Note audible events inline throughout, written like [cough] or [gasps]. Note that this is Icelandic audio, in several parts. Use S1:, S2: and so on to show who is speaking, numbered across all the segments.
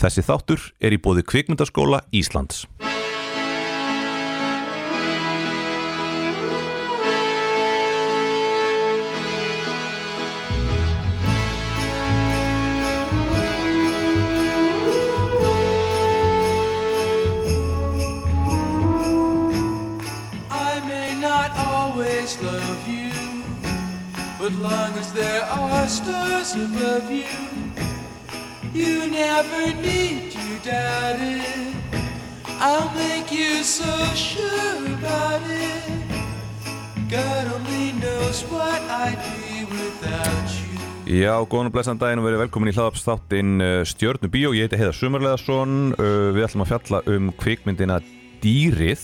S1: Þessi þáttur er í bóði kvikmyndaskóla Íslands.
S2: I may not always love you, but long as there are stars above you, you never need to doubt it. I'll make you so sure about it. God only knows what I'd be without you.
S1: Já, góðan og blessan daginn og verið velkomin í hlaðapsþáttinn Stjörnu Bíó. Ég heiti Heiðar Sumarleðarsson. Uh, Við ætlum að fjalla um kvikmyndina Dýrið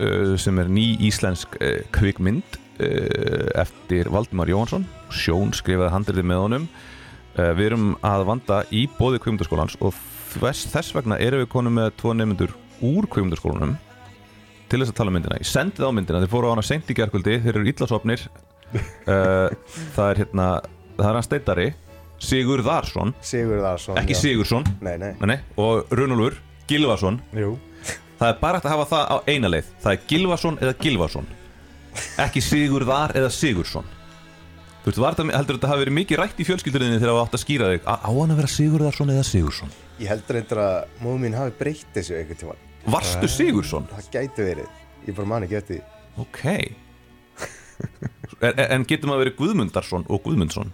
S1: uh, sem er ný íslensk uh, kvikmynd uh, eftir Valdimar Jóhansson. Sjón skrifaði handriði með honum. Uh, Við erum að vanda í bóði kvikmyndaskólans og þess, þess vegna erum við konum með tvo nefnendur úr kvikmyndaskólanum til þess að tala um myndina. Ég sendi þá myndina, þeir fóru á hana seint í gerkvöldi, þeir eru illasopnir. Uh, það er hérna, það er hann steitari, Sigurðarsson,
S3: Sigurðarsson
S1: ekki
S3: já.
S1: Sigursson,
S3: Nei, nei
S1: nei, nei, og Runolfur, Gilvason.
S3: Jú
S1: Það er bara hægt að hafa það á eina leið, það er Gilvason eða Gilvason, ekki Sigurðar eða Sigursson. Þú veist, var þetta, heldur þetta hafi verið mikið rætt í fjölskyldurinni þegar það var átt að skýra þig, á á hann að vera Sigurðarsson eða Sigursson?
S3: Ég held reyndar að móðu mín hafi breytt þessu einhvern tíma
S1: Varstu Sigursson?
S3: Það gæti verið Ég bara man ekki eftir því.
S1: Ok. En, en getur maður verið Guðmundarsson og Guðmundsson?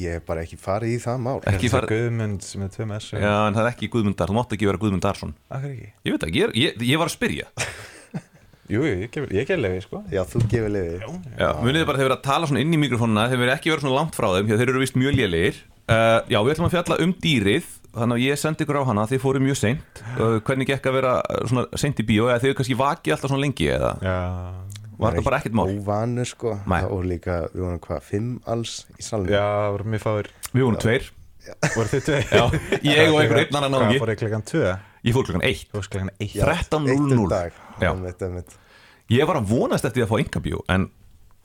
S3: Ég hef bara ekki farið í það mál
S1: Ekki
S4: Það er
S1: fara-
S4: Guðmund sem er tveim S
S1: Já, en það er ekki Guðmundar, þú mátt ekki vera Guðmundarsson.
S4: Akkur ekki
S1: Ég veit ekki, ég, er- ég, ég var að spyrja
S4: Jú, jú, ég gef, ég gef lefi, sko
S3: Já, þú gefur lefið
S1: já, Munið þið bara þeir verið að tala svona inn í mikrofónuna Þeir verið ekki verið svona langt frá þeim því að Þeir eru vist mjög lélegir uh, Já, við ætlum að fjalla um dýrið Þannig að ég sendi ykkur á hana, þið fóru mjög seint uh, Hvernig gekk að vera uh, svona seint í bíó Eða þið kannski vakið alltaf svona lengi eða
S4: Já,
S1: Var þetta bara ekkert mál
S3: Óvanur sko
S1: Nei.
S3: Og líka, við vorum hvað, fimm alls í salnum
S4: já, voru mér fáir
S1: Við vorum tveir
S4: Voru þið tvei?
S1: Já, ég og einhver einn annan náungi.
S4: Hvað fór ég klokkan tvö?
S1: Ég fór klukkan eitt
S4: Þú veist klokkan eitt
S3: Já, Eitt um
S1: 13.00
S3: dag
S1: Já.
S3: Einmitt, einmitt.
S1: Ég var að vonast eftir því að fá yngabíó En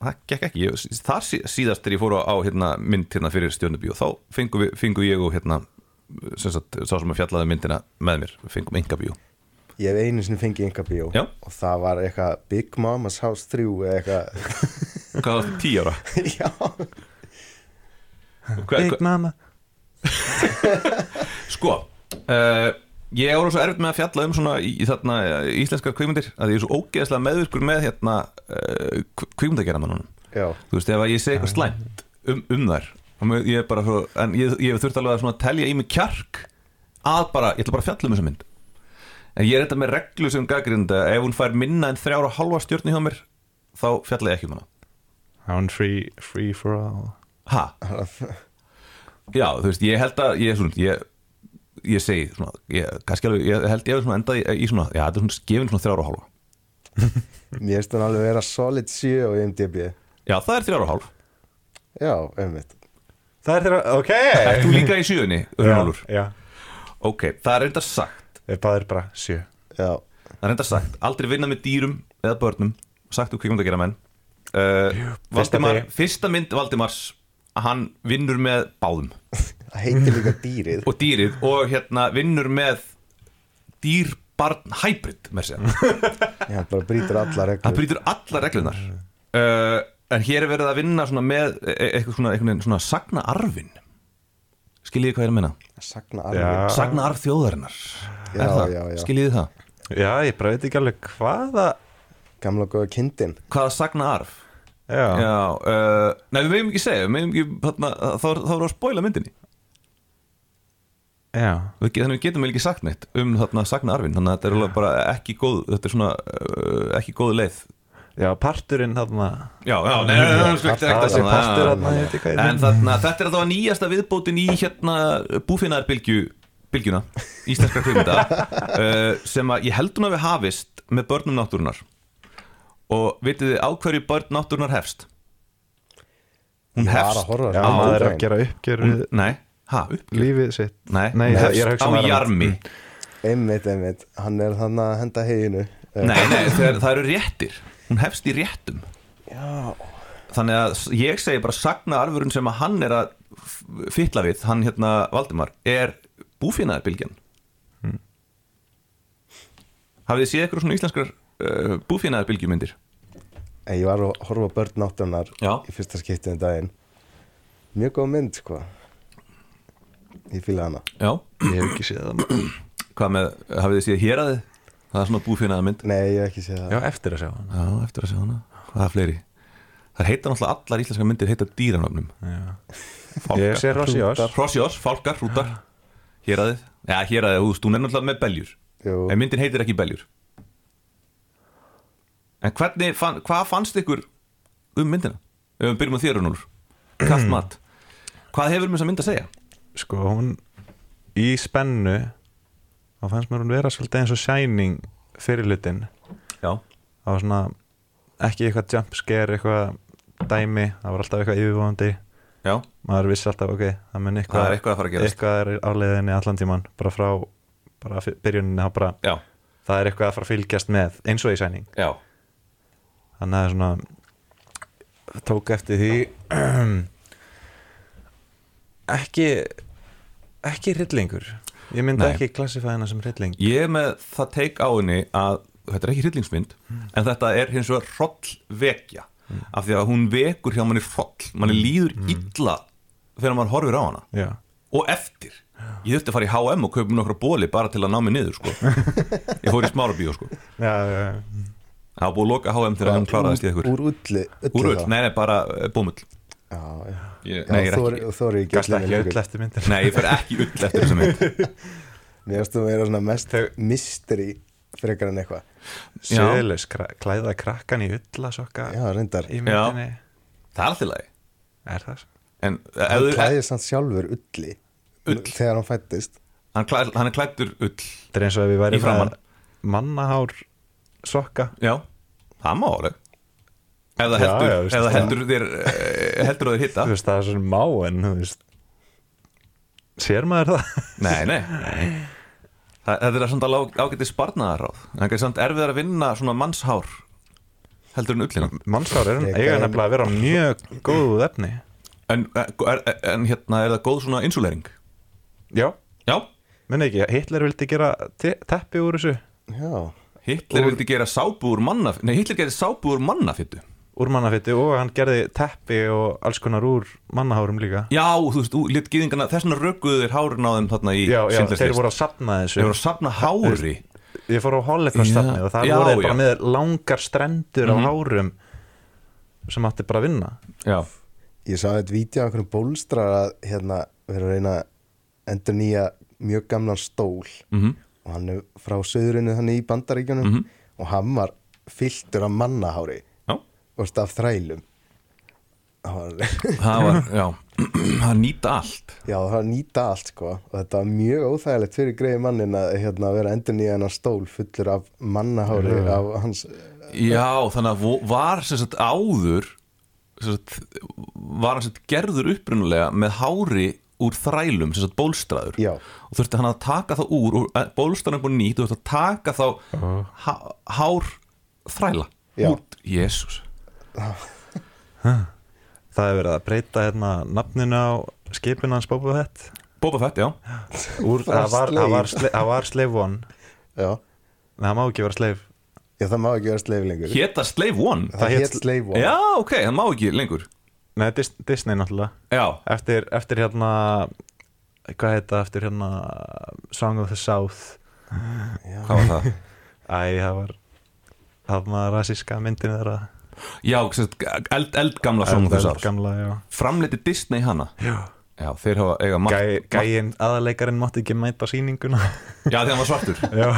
S1: það gekk ekki ég, Þar sí- síðast þegar ég fór á, á hérna, mynd hérna, fyrir stjórnubíó Þá fengu, við, fengu ég og hérna, sem sagt, Sá sem fjallaði myndina með mér Fengum yngabíó
S3: Ég hef einu sinni fengið yngar bíó
S1: Já.
S3: Og það var eitthvað Big Mama's House 3 eða
S1: [laughs]
S3: eitthvað
S1: Hvað var þetta, tíu ára?
S3: Já
S1: Hva,
S4: Big mamma
S1: sko, uh, ég er alveg svo erfitt með að fjalla um svona í, í þarna eh, íslenskar kvikmyndir að ég er svo ógeðslega meðvirkur með hérna uh, kvikmyndageramannunum.
S3: Já
S1: Þú veist, ef að ég segi eitthvað slæmt um, um þær, þá mun- ég er bara svo, en ég, ég hef þurft alveg að svona telja í mig kjark að bara, ég ætla bara að fjalla um þessa mynd. En ég er þetta með reglu sem gaggrinda, ef hún fær minna en þrjára og halva stjórni hjá mér, þá fjalla ég ekki um hana.
S4: Hún free, free for all
S1: Ha? [laughs] Já, þú veist, ég held að ég, er svona, ég, ég segi svona, ég, kannski alveg, ég held ég hefði svona endað í, í svona, já, þetta er svona gefin svona þrjára og hálfa
S3: Mér finnst hún alveg vera solid 7 á IMDb
S1: Já, það er þrjára og hálf
S4: Eh.
S3: Já, einmitt
S4: Það er þeirra, ok
S1: Ert þú líka í sjöunni, Örnólfur?
S4: [laughs] Já,
S1: Ok, það er enda sagt
S4: við báðir bara sjö
S3: Já
S1: Það er enda sagt, aldrei vinna með dýrum eða börnum Sagt úr kvikmynd að gera menn uh, Valdimar,
S4: degi.
S1: fyrsta mynd Valdimars Hann vinnur með báðum
S3: Það heitir líka dýrið
S1: Og dýrið og hérna vinnur með Dýr, barn, hybrid Mér segja
S3: Já, bara brýtur alla
S1: Það
S3: reglur
S1: brýtur alla reglunar uh, En hér er verið að vinna svona með e- e- eitthvað svona, einhvern veginn svona sagna arfin Skiljiði hvað ég er að minna?
S3: Sagna alveg
S4: Já.
S1: Sagna arf þjóðarinnar
S3: Já,
S1: Er það?
S3: já, já.
S1: Skiljiði það?
S4: Já, ég bara veit ekki alveg hvaða
S3: Gamla góða kindin
S1: Hvaða sagna arf?
S4: Já,
S1: Já, uh, nei við meðum ekki segja við megum ekki, þarna, þá, er- þá erum við að spoila myndinni
S4: já.
S1: Við ge- Þannig við getum vel ekki sagt neitt um þarna sagna arfin Þannig að þetta er alveg bara ekki góð Þetta er svona uh, ekki góð leið
S4: já parturinn þarna
S1: Já, já, nei, nei, nei, sko, nei,
S3: Það er
S4: þessi
S3: þarna,
S4: partur þarna, ég veit ekki hvað
S1: En
S4: ég
S1: þarna, þetta er að það var nýjasta viðbótin í hérna búfinnaðarbylgju bylgjuna, íslenskra
S4: [laughs]
S1: kvikmynda uh, sem að ég held hún að við hafist með börnum náttúrunar og vitið þið á hverju börn náttúrunar hefst? Hún
S3: Ég var
S1: hefst
S3: að horfa á
S4: Já,
S3: þessa
S4: maður er
S3: myndræn.
S4: að gera uppgjör
S1: hún,
S4: við
S1: Nei, ha, upp?
S4: lífið sitt
S1: Mm. Nei,
S4: Nei,
S1: hún
S4: ég- ég er
S1: hefst
S4: að
S1: á
S4: hugsa um aðra.
S1: jarmi
S3: Einmitt, einmitt Hann er þannig að henda Eh, heginu
S1: Nei, nei, þegar, það eru réttir Hún hefst í réttum
S3: Já
S1: Þannig að s- ég segi bara sagna arfurinn sem að hann er að f- fitla við, hann hérna Valdimar, er búfinaði bylgjan hafið þið séð eitthvað svona íslenskar uh, búfinaði bylgjumyndir
S3: En ég var að horfa á börn náttunar
S1: Já.
S3: í fyrsta skiptið um daginn Mjög góð mynd sko Ég fýla hana
S1: já,
S4: Ég hef ekki séð það maður.
S1: hvað með, hafið þið séð héraðið það er svona búfinaði mynd
S3: Nei, ég hef ekki séð það
S4: Já, eftir að sjá hann
S1: já, eftir að sjá hana, hvað er fleiri það heita náttúrulega allar íslenskar myndir heita dýranöfnum
S4: Ég sé Rossi Ás
S1: Hrossjós, Fálkar, Hrútar Héraðið, já héraðið, þú veist, hún er náttúrulega með beljur
S3: Jú.
S1: En myndin heitir ekki beljur En hvernig, fann, hvað fannst ykkur um myndina? Ef við byrjum á þér, Rúnur Kallt mat Hvað hefur mér þess að mynd að segja?
S4: Sko, hún í spennu þá fannst mér hún vera svolítið eins og Shining fyrirlutin
S1: Já,
S4: það var svona ekki eitthvað jumpscare, eitthvað dæmi það var alltaf eitthvað yfirvóðandi
S1: já,
S4: maður vissi alltaf, ok, það mun eitthvað
S1: Það er eitthvað að fara að gerast.
S4: eitthvað er á leiðinni allan tíman bara frá, bara fyr- byrjuninni þá bara,
S1: já,
S4: það er eitthvað að fara að fylgjast með eins og í sæning
S1: já
S4: þannig að svona tók eftir því [clears throat] ekki ekki rillingur ég myndi
S1: Nei.
S4: ekki klassifæða hana sem rilling
S1: Ég er með það teik á henni að Þetta er ekki hryllingsmynd En þetta er hins vegar hrollvekja Af því að hún vekur hjá manni hroll Manni líður
S3: Mm.
S1: illa Þegar mann horfir á hana
S4: já,
S1: og eftir ég þurfti að fara í H&M og kaupa mér nokkra bóli bara til að ná mig niður
S3: [laughs]
S1: sko. ég fór í smárabíó sko.
S4: já, já, já.
S1: það var búið að loka H&M þegar hann kláraðist í ekkur
S3: Úr ulli
S1: úr öll, nei nei bara eh, bómull
S3: Já, já
S1: Ég-
S3: Já,
S1: nei, ég er
S3: þú
S1: ekki-
S3: eru- þú eru ekki
S4: gæst ekki öll
S3: lengur.
S4: eftir myndin
S1: nei ég fer ekki ull eftir þessa mynd
S3: Mér finnst þú að vera svona mest mystery frekar en eitthvað
S1: Já.
S4: Sjöðlaus, klæða krakkan í ullasokka
S3: Já, reyndar
S4: í myndinni
S1: það er alltaf lagi
S4: er það?
S1: en eh, ef
S3: Hann
S1: þú-
S3: klæðir samt sjálfur ulli
S1: Ull.
S3: Þegar hann fættist
S1: hann, klæ, hann er klættur ull
S4: það er eins og ef við
S1: Í
S4: væri
S1: framan.
S4: mannahár sokka
S1: já, það má áleg ef það
S4: Já,
S1: heldur,
S4: já,
S1: ef
S4: veist
S1: það
S4: það.
S1: heldur þér eh, heldur þér hitta
S4: þú veist það er svona má en þú veist sér maður það?
S1: Nei, nei Þa- Þetta er samt alveg ágætið sparnaðaráð En það er samt erfiðar að vinna svona mannshár Heldur en ullina
S4: mannshár er
S3: Ég
S4: eiga
S3: gæði-
S4: nefnilega að vera mjög góðu efni
S1: en, eh, er, en hérna er það góð svona insulering
S4: já,
S1: Já,
S4: menn ekki, Hitler vildi gera te teppi úr þessu,
S3: Já,
S1: Hitler vildi gera sápu úr manna Nei, Hitler gerði sápu úr mannafittu
S4: úr mannafitti og hann gerði teppi og alls konar úr mannahárum líka
S1: Já, þú veist, ú, lit gýðingana Þess vegna rögguðu þeir hárin á þeim þarna í
S4: já, já,
S1: Schindler's
S4: þeir
S1: List.
S4: voru að sapna þessu
S1: Þeir voru að safna hári
S4: ég fór á Holocaust
S1: Já.
S4: stafnið og það
S1: Já, Mhm.
S4: voru þeir bara
S1: já.
S4: með langar strendur af hárum sem átti bara að vinna
S1: Já,
S3: ég sá þetta vídeo af einhverjum bólstrar að hérna vera að reyna að endur nýja mjög gamlan stól
S1: Mhm.
S3: -hmm. og hann er frá söðurinu þannig í bandaríkjunum og hann var fylltur af mannahári
S1: já
S3: og veist, af þrælum Það var,
S1: Það var, [laughs] já, það nýta allt
S3: [laughs] já, það var að nýta allt sko og þetta var mjög óþægilegt fyrir greiði mannin að hérna, að vera endur nýja hennar stól fullur af mannahári af hans,
S1: Já, þannig að vo- var sem sagt áður sem sagt, var hann sem sagt gerður upprunulega með hári úr þrælum sem sagt bólstraður
S3: Já.
S1: og þurfti hann að taka það úr og bólstraður búin nýtt og þurfti að taka þá há, hár þræla
S3: Já.
S1: út, jésús
S4: það hefur verið að breyta hérna nafninu á skipinu hans Boba Fett
S1: Boba Fett, já,
S4: úr,
S3: Frá
S4: það, var, það, var
S3: Slave.
S4: sle, það var Slave One
S3: já,
S4: Nei, það má ekki vera Slave
S3: já, það má ekki vera sleif lengur
S1: héta Slave One
S3: það
S4: hét-
S3: hétt sleif
S1: Já, ok, það má ekki lengur
S4: Nei, Dis, Disney náttúrulega
S1: Já,
S4: eftir, eftir hérna hvað heita, eftir hérna Song of the South
S1: hvað var það?
S4: Æ, það var það var rasíska myndin þeirra
S1: Já, sem sagt, [laughs] eld, eldgamla sjónum þess að
S4: gamla, já
S1: Framleiti Disney hana Já, þeir hafa eiga margt
S4: Gæ, Gæin, aðalegarinn mátti ekki mæta sýninguna
S1: [laughs] Já, þegar hann var svartur
S4: Já,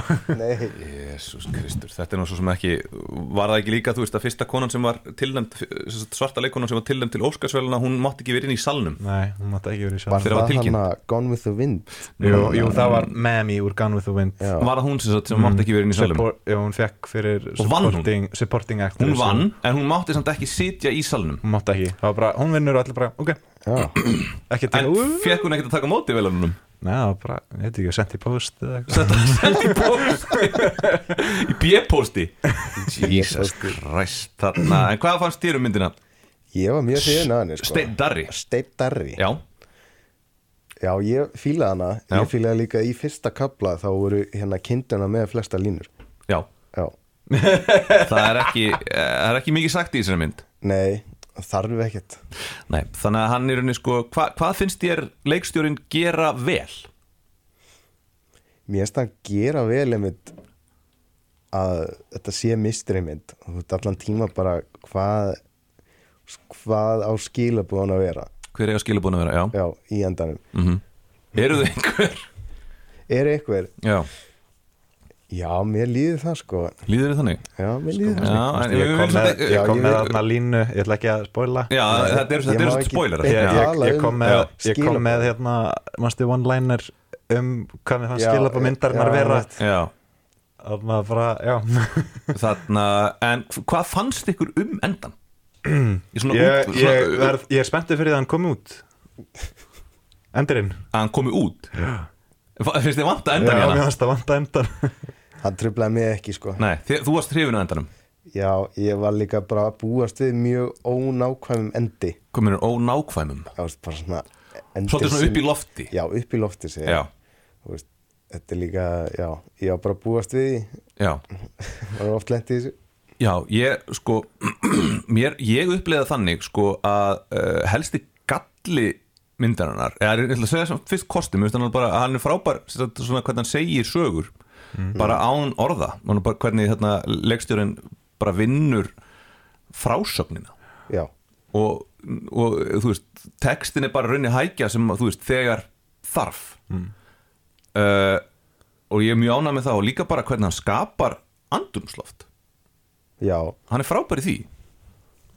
S3: Nei,
S1: Jésús Kristur, þetta er nú svo sem ekki var það ekki líka, þú veist, að fyrsta konan sem var tilnæmt, svarta leikonan sem var tilnæmt til Óskarsveluna, hún mátti ekki verið inn í salnum
S4: nei, hún mátti ekki verið
S3: var
S4: sjálf
S1: Þegar það var
S3: það
S1: tilkynnt.
S3: hann að Gone with the Wind
S4: jú, jú, það var Mammy úr Gone with the Wind
S3: Já.
S1: var það hún sem, sagt, sem mátti ekki verið inn í salnum
S4: Support, já, hún fekk fyrir
S1: Og vann hún?
S4: supporting, supporting actor
S1: hún vann, en hún mátti samt ekki sitja í salnum
S4: Hún mátti ekki, það var bara, hún vinnur og allir bara, ok,
S3: Já,
S4: ekki til
S1: en fekk hún ekkert að taka á móti velunum
S4: Nei, það var bara, ég veit ekki, sendi í post eða eitthvað
S1: þetta var sent í posti í b-posti [clears throat] Jesus
S3: B-pósti.
S1: Christ þarna, en hvað fannst þér um myndina?
S3: ég var mjög hrifin að henni sko.
S1: Steinn Darri,
S3: Steinn Darri
S1: já
S3: Já, ég fílaði hana,
S1: Já.
S3: ég fílaði líka í fyrsta kapla þá voru hérna kindina með flesta línur
S1: Já,
S3: Já,
S1: það er ekki, eh, það er ekki mikið sagt í þessari mynd
S3: nei, þarf ekkert
S1: Nei, þannig að hann er unni sko hva, Hvað finnst þér leikstjórin gera vel?
S3: Mér finnst það að gera vel einmitt að þetta sé mistri mynd og þú ert allan tíma bara hvað hvað á skilabúðan að vera
S1: Hver eiga skilabúin að vera? Já,
S3: já, í endanum
S1: Mm. eru þau einhver?
S3: Er einhver?
S1: Já,
S3: Já, mér líður það sko
S1: líður þið þannig?
S3: Já, mér líður það
S1: Já,
S3: sko.
S1: en
S4: Ég
S1: við viljum
S4: kom með,
S1: samt-
S4: ég
S3: Já,
S4: kom
S3: ég
S4: með
S3: veit-
S4: þarna línu, ég ætla ekki að spoila
S1: Já,
S3: Nei,
S1: þetta eru
S3: ég
S1: þetta
S3: má
S1: eru svona
S3: ekki-
S1: spoilerar
S3: Ég-
S4: ég,
S1: Já.
S4: ég,
S3: tala
S4: ég
S3: um
S4: kom með, ég
S3: skilaboð.
S4: kom með hérna, mannstu one-liner um hvað mér fannst
S3: Já,
S4: skilabá myndarinnar
S3: já,
S4: vera
S3: einmitt.
S1: Já,
S4: að maður bara, já
S1: þarna En hvað fannst ykkur um endan? Í svona
S4: ég,
S1: út
S4: ég,
S1: svona,
S4: verð, ég er spenntið fyrir það að hann komi út endurinn
S1: Að hann komi út Fa- Finnst þið vanta
S4: já,
S1: endan
S4: mér
S1: hérna?
S4: fannst að vanta endan
S3: Hann tröflaði mig ekki sko
S1: Nei, þið, þú varst hrifin að endanum
S3: Já, ég var líka bara að búast við mjög ónákvæmum endi
S1: Komin er ónákvæmum
S3: Það var bara svona endir
S1: Svolítið svona
S3: sem-
S1: upp í lofti
S3: Já, upp í lofti sig
S1: Já,
S3: Þú veist, Þetta er líka, já, ég var bara að búast við því [laughs]
S1: já
S3: var oft lent í þessu
S1: Já, ég sko [clears throat] mér, ég uppleiða þannig sko að uh, helsti galli myndarinnar, eða ég ætla að segja sem fyrst kostum, hann er bara, hann er frábær sem sagt, svona hvernig hann segir sögur bara án orða, hann er bara hvernig þarna, leikstjórinn bara vinnur frásögnina
S3: Já,
S1: og, og þú veist textin er bara raunni hækja sem þú veist þegar þarf uh, og ég er mjög ánægð með það og líka bara hvernig hann skapar andumsloft
S3: já,
S1: hann er frábær í því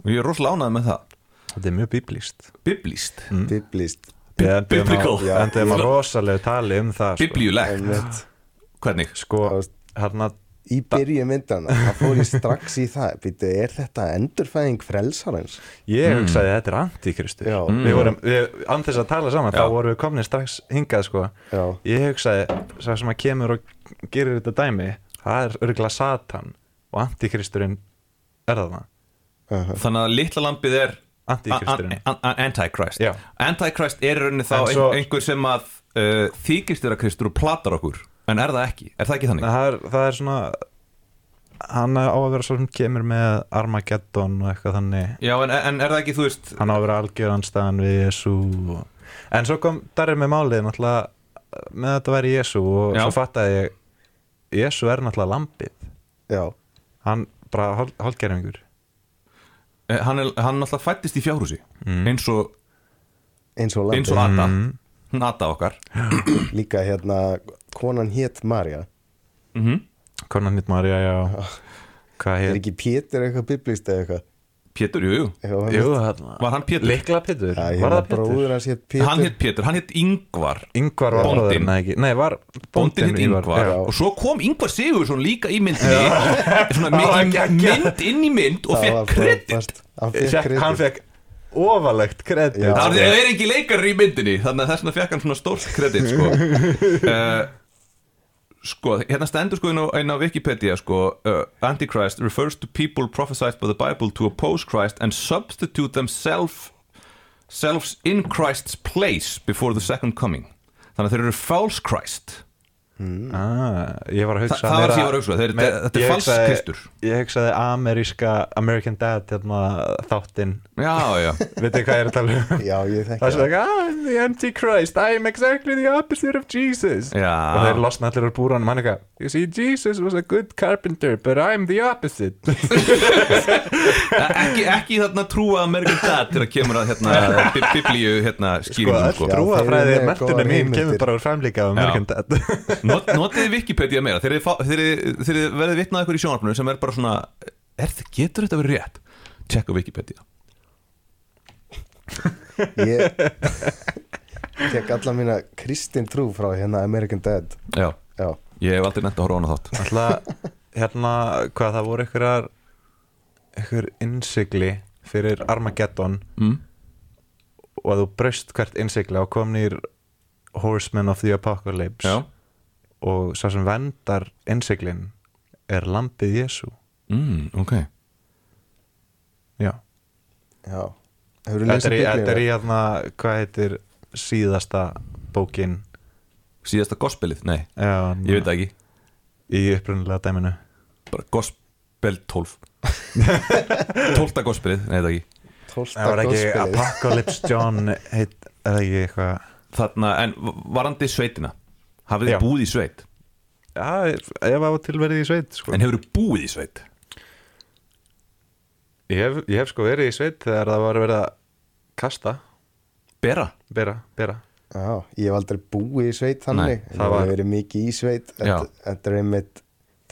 S1: og ég er rosalega ánægð með það
S4: þetta er mjög biblíst
S1: biblíst,
S4: Mm.
S3: biblíst
S1: Bi- biblical.
S4: biblical endur maður rosalegu tali um það sko,
S1: biblíulegt
S3: Einmitt.
S1: hvernig,
S4: sko
S3: Já, veist.
S4: hérna
S3: Í byrju myndana, það fór ég strax í það Býtu, er þetta endurfæðing frelsarins?
S4: ég
S1: Mm.
S4: hugsaði að þetta er antikristur
S3: Já.
S4: við vorum, við, án þess að tala saman
S1: Já.
S4: þá vorum við komnið strax hingað sko
S3: Já.
S4: ég hugsaði, sá sem að kemur og gerir þetta dæmi, það er örgla satan og antikristurinn er það það
S3: Uh
S4: Sko.
S3: -huh.
S1: þannig að litla lampið er
S4: Antíkristurinn.
S1: an- an- an- antichrist
S4: Já.
S1: antichrist er í rauninni þá
S4: En
S1: ein-
S4: svo-
S1: einhver sem að uh, þykist er að Kristur og platar okkur en er það ekki, er það ekki þannig?
S4: það er, það er svona hann á að vera svo sem kemur með Armageddon og eitthvað þannig
S1: Já, en, en er það ekki, þú veist
S4: hann á að vera algjörðanstæðan við Jésu og... en svo kom Darri með málið náttúrulega með að þetta væri Jésu og
S1: Já.
S4: svo fattaði ég Jésu er náttúrulega lambið
S3: Já,
S4: hann bara hol, hálgerfingur
S1: eh, hann, er, hann alltaf fættist í fjárhúsi
S4: Mm.
S1: eins og,
S3: eins og
S1: eins og
S3: landi
S1: Ada
S4: Mm.
S1: hún Ada okkar
S3: Líka hérna, konan hét Marja
S1: Mhm.
S4: konan hitt Marja já hvað
S3: Er
S4: hér
S3: ekki Pétur eitthvað biblíst eða eitthvað?
S1: Pétur, jú, jú,
S3: Eitthvað hann-
S4: Jú, þarna.
S1: var hann Pétur?
S4: Likla Pétur,
S3: Já,
S4: var
S3: hérna
S4: það Pétur?
S3: bróður hans hét Pétur
S1: Hann hétt Pétur, hann hétt Ingvar
S4: Yngvar var
S1: Bóndinn.
S4: bróðurinn eða ekki Nei, var
S1: Bóndin
S4: bóndinn
S1: hitt Ingvar
S4: já.
S1: og svo kom Ingvar Sigursson líka í myndinni svona mynd, mynd inn í mynd og
S3: Það var
S1: fekk kredit
S3: frábært. Hann fekk
S4: Fékk- Hann
S3: kredit
S4: fekk ofalegt kredit
S3: Já.
S1: það er ekki leikar í myndinni þannig að þess vegna fekk hann svona stórt kredit sko. uh, sko, hérna stendur sko inn á, inn á Wikipedia sko, uh, Antichrist refers to people prophesied by the Bible to oppose Christ and substitute themselves selves in Christ's place before the second coming þannig að þeir eru false Christ
S4: Ah, ég var að hugsa
S1: Þa- það var
S4: meira-
S1: sem ég var að hugsa, þeir-
S4: meira-
S1: þetta er
S4: ég
S1: falsk
S4: hugsaði-
S1: Kristur.
S4: Ég hugsaði ameríska American Dad hérna, þáttinn
S1: já, já
S4: Veitir hvað ég er að tala um?
S3: Já, ég þekki
S4: Það er svona, ah, I'm the antichrist, I'm exactly the opposite of Jesus
S1: Já.
S4: Og þeir losna allir úr búranum, hann eitthvað You see, Jesus was a good carpenter, but I'm the opposite
S1: ekki, ekki þarna trúa American Dad til að kemur að hérna, bi- biblíu hérna, skýringum sko,
S3: Já,
S4: Trúafræði
S3: þeir eru með
S4: mentunni
S3: góðar
S4: mín
S3: heimildir.
S4: kemur bara úr framlíka af
S3: [laughs]
S4: American Dad
S1: Not, notiði Wikipedia meira þegar þið fá- þegar þið- þegar þið verðið vitnað ykkur í sjónarfnum sem er bara svona er, þið- getur þetta verið rétt? tjekka Wikipedia
S3: Ég tek alla mína kristin trú frá hérna American Dad
S1: já,
S3: Já,
S1: ég hef aldrei nefnt að horfa á hana þátt
S4: Alltaf, hérna, hvað það voru einhverjar einhver innsigli fyrir Armageddon
S1: mm.
S4: og að þú braust hvert innsigli og kom nýr Horseman of the Apocalypse
S1: já,
S4: og sá sem vendar innsiglin er lampið Jésu
S1: mm, ok
S4: Já,
S3: já Hefurðu
S4: þetta
S3: lesið
S4: er, í- þetta er
S3: biblíuna?
S4: í hérna, hvað heitir síðasta bókin
S1: Síðasta gospelið, nei,
S4: já,
S1: ég veit það ekki
S4: í upprunalega dæminu
S1: Bara gospel 12 12. gospelið, nei, það ekki
S3: tólta
S4: það var ekki
S3: góðspilið
S4: Apocalypse John heit, er það ekki eitthvað
S1: Þarna, en varandi sveitina Hafið
S4: Já.
S1: þið búið í sveit
S4: já, ef ef að til verið í sveit sko.
S1: En hefur þið búið í sveit
S4: ég, hef, ég hef sko verið í sveit þegar það var verið að kasta
S1: Bera
S4: bera, bera
S3: Já, ég hef aldrei búið í sveit þannig
S1: Nei,
S3: Nei,
S4: það
S3: það
S4: var-
S3: var verið mikið í sveit
S1: Já.
S3: þetta þetta er einmitt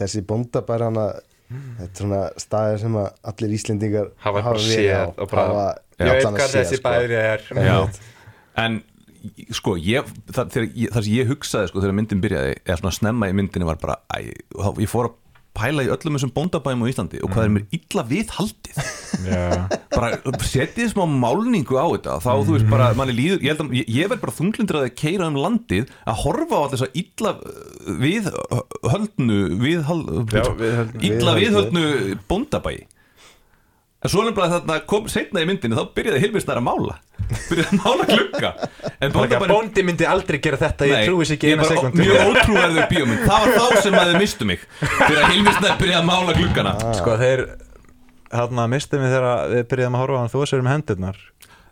S3: þessi bóndabær hana þetta er svona staðir sem að allir Íslendingar
S4: hafa eitthvað
S3: verið á,
S4: séð og bara,
S3: hafa-
S4: ég veit
S3: allan að
S4: hvað
S3: séð,
S4: þessi
S3: sko.
S4: bæri er
S1: Já. En sko, ég, það, þegar, ég, það sem ég hugsaði sko, þegar myndin byrjaði, eða svona snemma í myndinni var bara, æ, þá- ég fór að pæla í öllum þessum bóndabæjum á Íslandi og hvað er mér illa við haldið
S4: Já.
S1: bara setið smá málningu á þetta þá þú veist
S4: Mhm.
S1: bara, manni líður ég, held að, ég, ég verð bara þunglindur að keira um landið að horfa á alltaf þess að illa uh, við uh, höldnu við, hal, uh,
S4: Já, viðhöldnu.
S1: illa við höldnu bóndabæi en svo nefnilega þarna kom setna í myndinu þá byrjaði Hilmistar að mála byrjaði að mála klukka en
S4: Bara ekki að
S1: bóndabæi
S4: Bóndi myndi aldrei gera þetta, ég trúi sér ekki
S1: ég
S4: eina
S1: bara
S3: [laughs]
S4: sekundu
S1: mjög ótrúverður bíómynd það var þá sem að þið mistu mig fyrir að Hilmistar byrjaði að mála klukkana
S4: Sko þeir, þarna mistum við þegar við byrjaðum að horfa á hann þú sér um hendurnar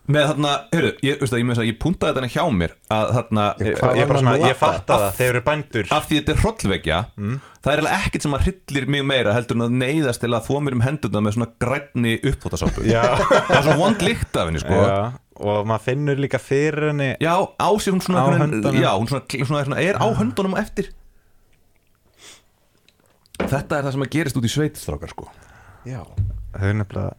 S1: með þarna, heyrðu, ég, veistu, það, ég, meina þess að ég puntaði þetta hérna hjá mér að þarna, eh,
S3: hvað
S4: Ég
S3: var
S4: bara
S3: hann
S4: svona,
S3: að
S4: ég
S3: labba?
S4: fatta það, þeir eru bændur
S1: af því þetta er hrollvekja
S4: Mm.
S1: það er eiginlega ekkert sem að hryllir mig meira heldur en að neyðast til að þvó mér um hendurna með svona grænni uppbótasápu
S4: Já.
S1: það er svona vond lykt af henni sko já,
S4: Já, og maður finnur líka fyrir henni
S1: á sér hún svona
S4: Á
S1: einhvern veginn-
S4: höndunum. Ah.
S1: já, hún svona, svona, svona er á höndunum á eftir þetta er það sem að gerist út í sveitstrákar sko
S3: Já,
S4: Þau nefnilega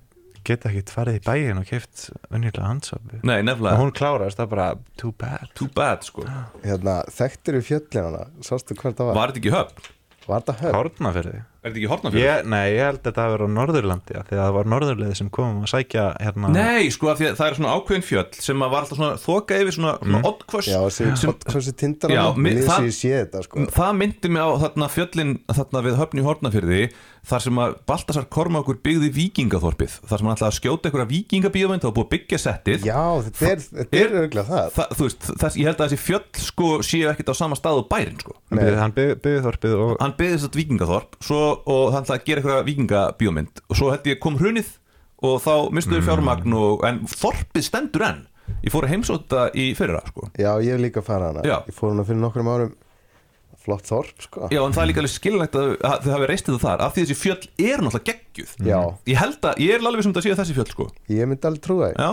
S4: geta ekki farið í bæin og keift venjulega handsapi
S1: nei,
S4: Og
S1: nefnilega,
S4: hún klárast, það er bara too bad
S1: too bad sko var
S3: hérna, þekktir við fjöllinana Sástu hvert það var? Var,
S1: þetta ekki í höfn?
S3: þetta höfn?
S4: Hárna fyrir því
S1: er þetta ekki horna fyrir?
S4: Ég, nei, ég held að þetta hafi verið á Norðurlandi af því að það var Norðurleið sem komum að sækja hérna
S1: Nei, sko, af því að það er svona ákveðin fjöll sem að var alltaf svona þoka yfir svona, svona oddkvöss
S3: Mm. Já, þessi podcasti tindar
S1: Já,
S3: hana
S1: mi-
S3: Lýðis
S1: það-
S3: ég sé þetta sko
S1: Það myndi mig á þarna fjöllin þarna við höfni í Hortnafyrði þar sem að Baltasar Kormákur byggði vikingaþorpið þar sem hann ætlaði að skjóta einhverja vikingabíómynd og búið að byggja settið
S3: Já, þetta er, þetta er örgulega það
S1: Þa, þú veist, þess, ég held að þessi fjöll sko séu ekkert á sama stað og bærin sko
S4: Hann byggði- Hann byggði byggðorpið og
S1: hann byggði þetta vikingaþorp svo, og hann ætlaði að gera einhverja vikingabíómynd og svo held ég kom hrunið og þá
S3: Mm.
S1: mistuðu fjármagn og, en þorpið stendur enn ég fór að heimsóta í fyrra sko
S3: Já, ég hef líka farið hana
S1: Já.
S3: Ég fór hana fyrir nokkrum árum Flott þorp sko
S1: Já, en það er líka alveg skilnægt að að þið hafi reist þetta þar af því þessi fjöll er náttúrulega geggjuð
S3: Já.
S1: Ég held að, ég er alveg sem þetta séu þessi fjöll sko
S3: Ég myndi alveg trúa
S1: Já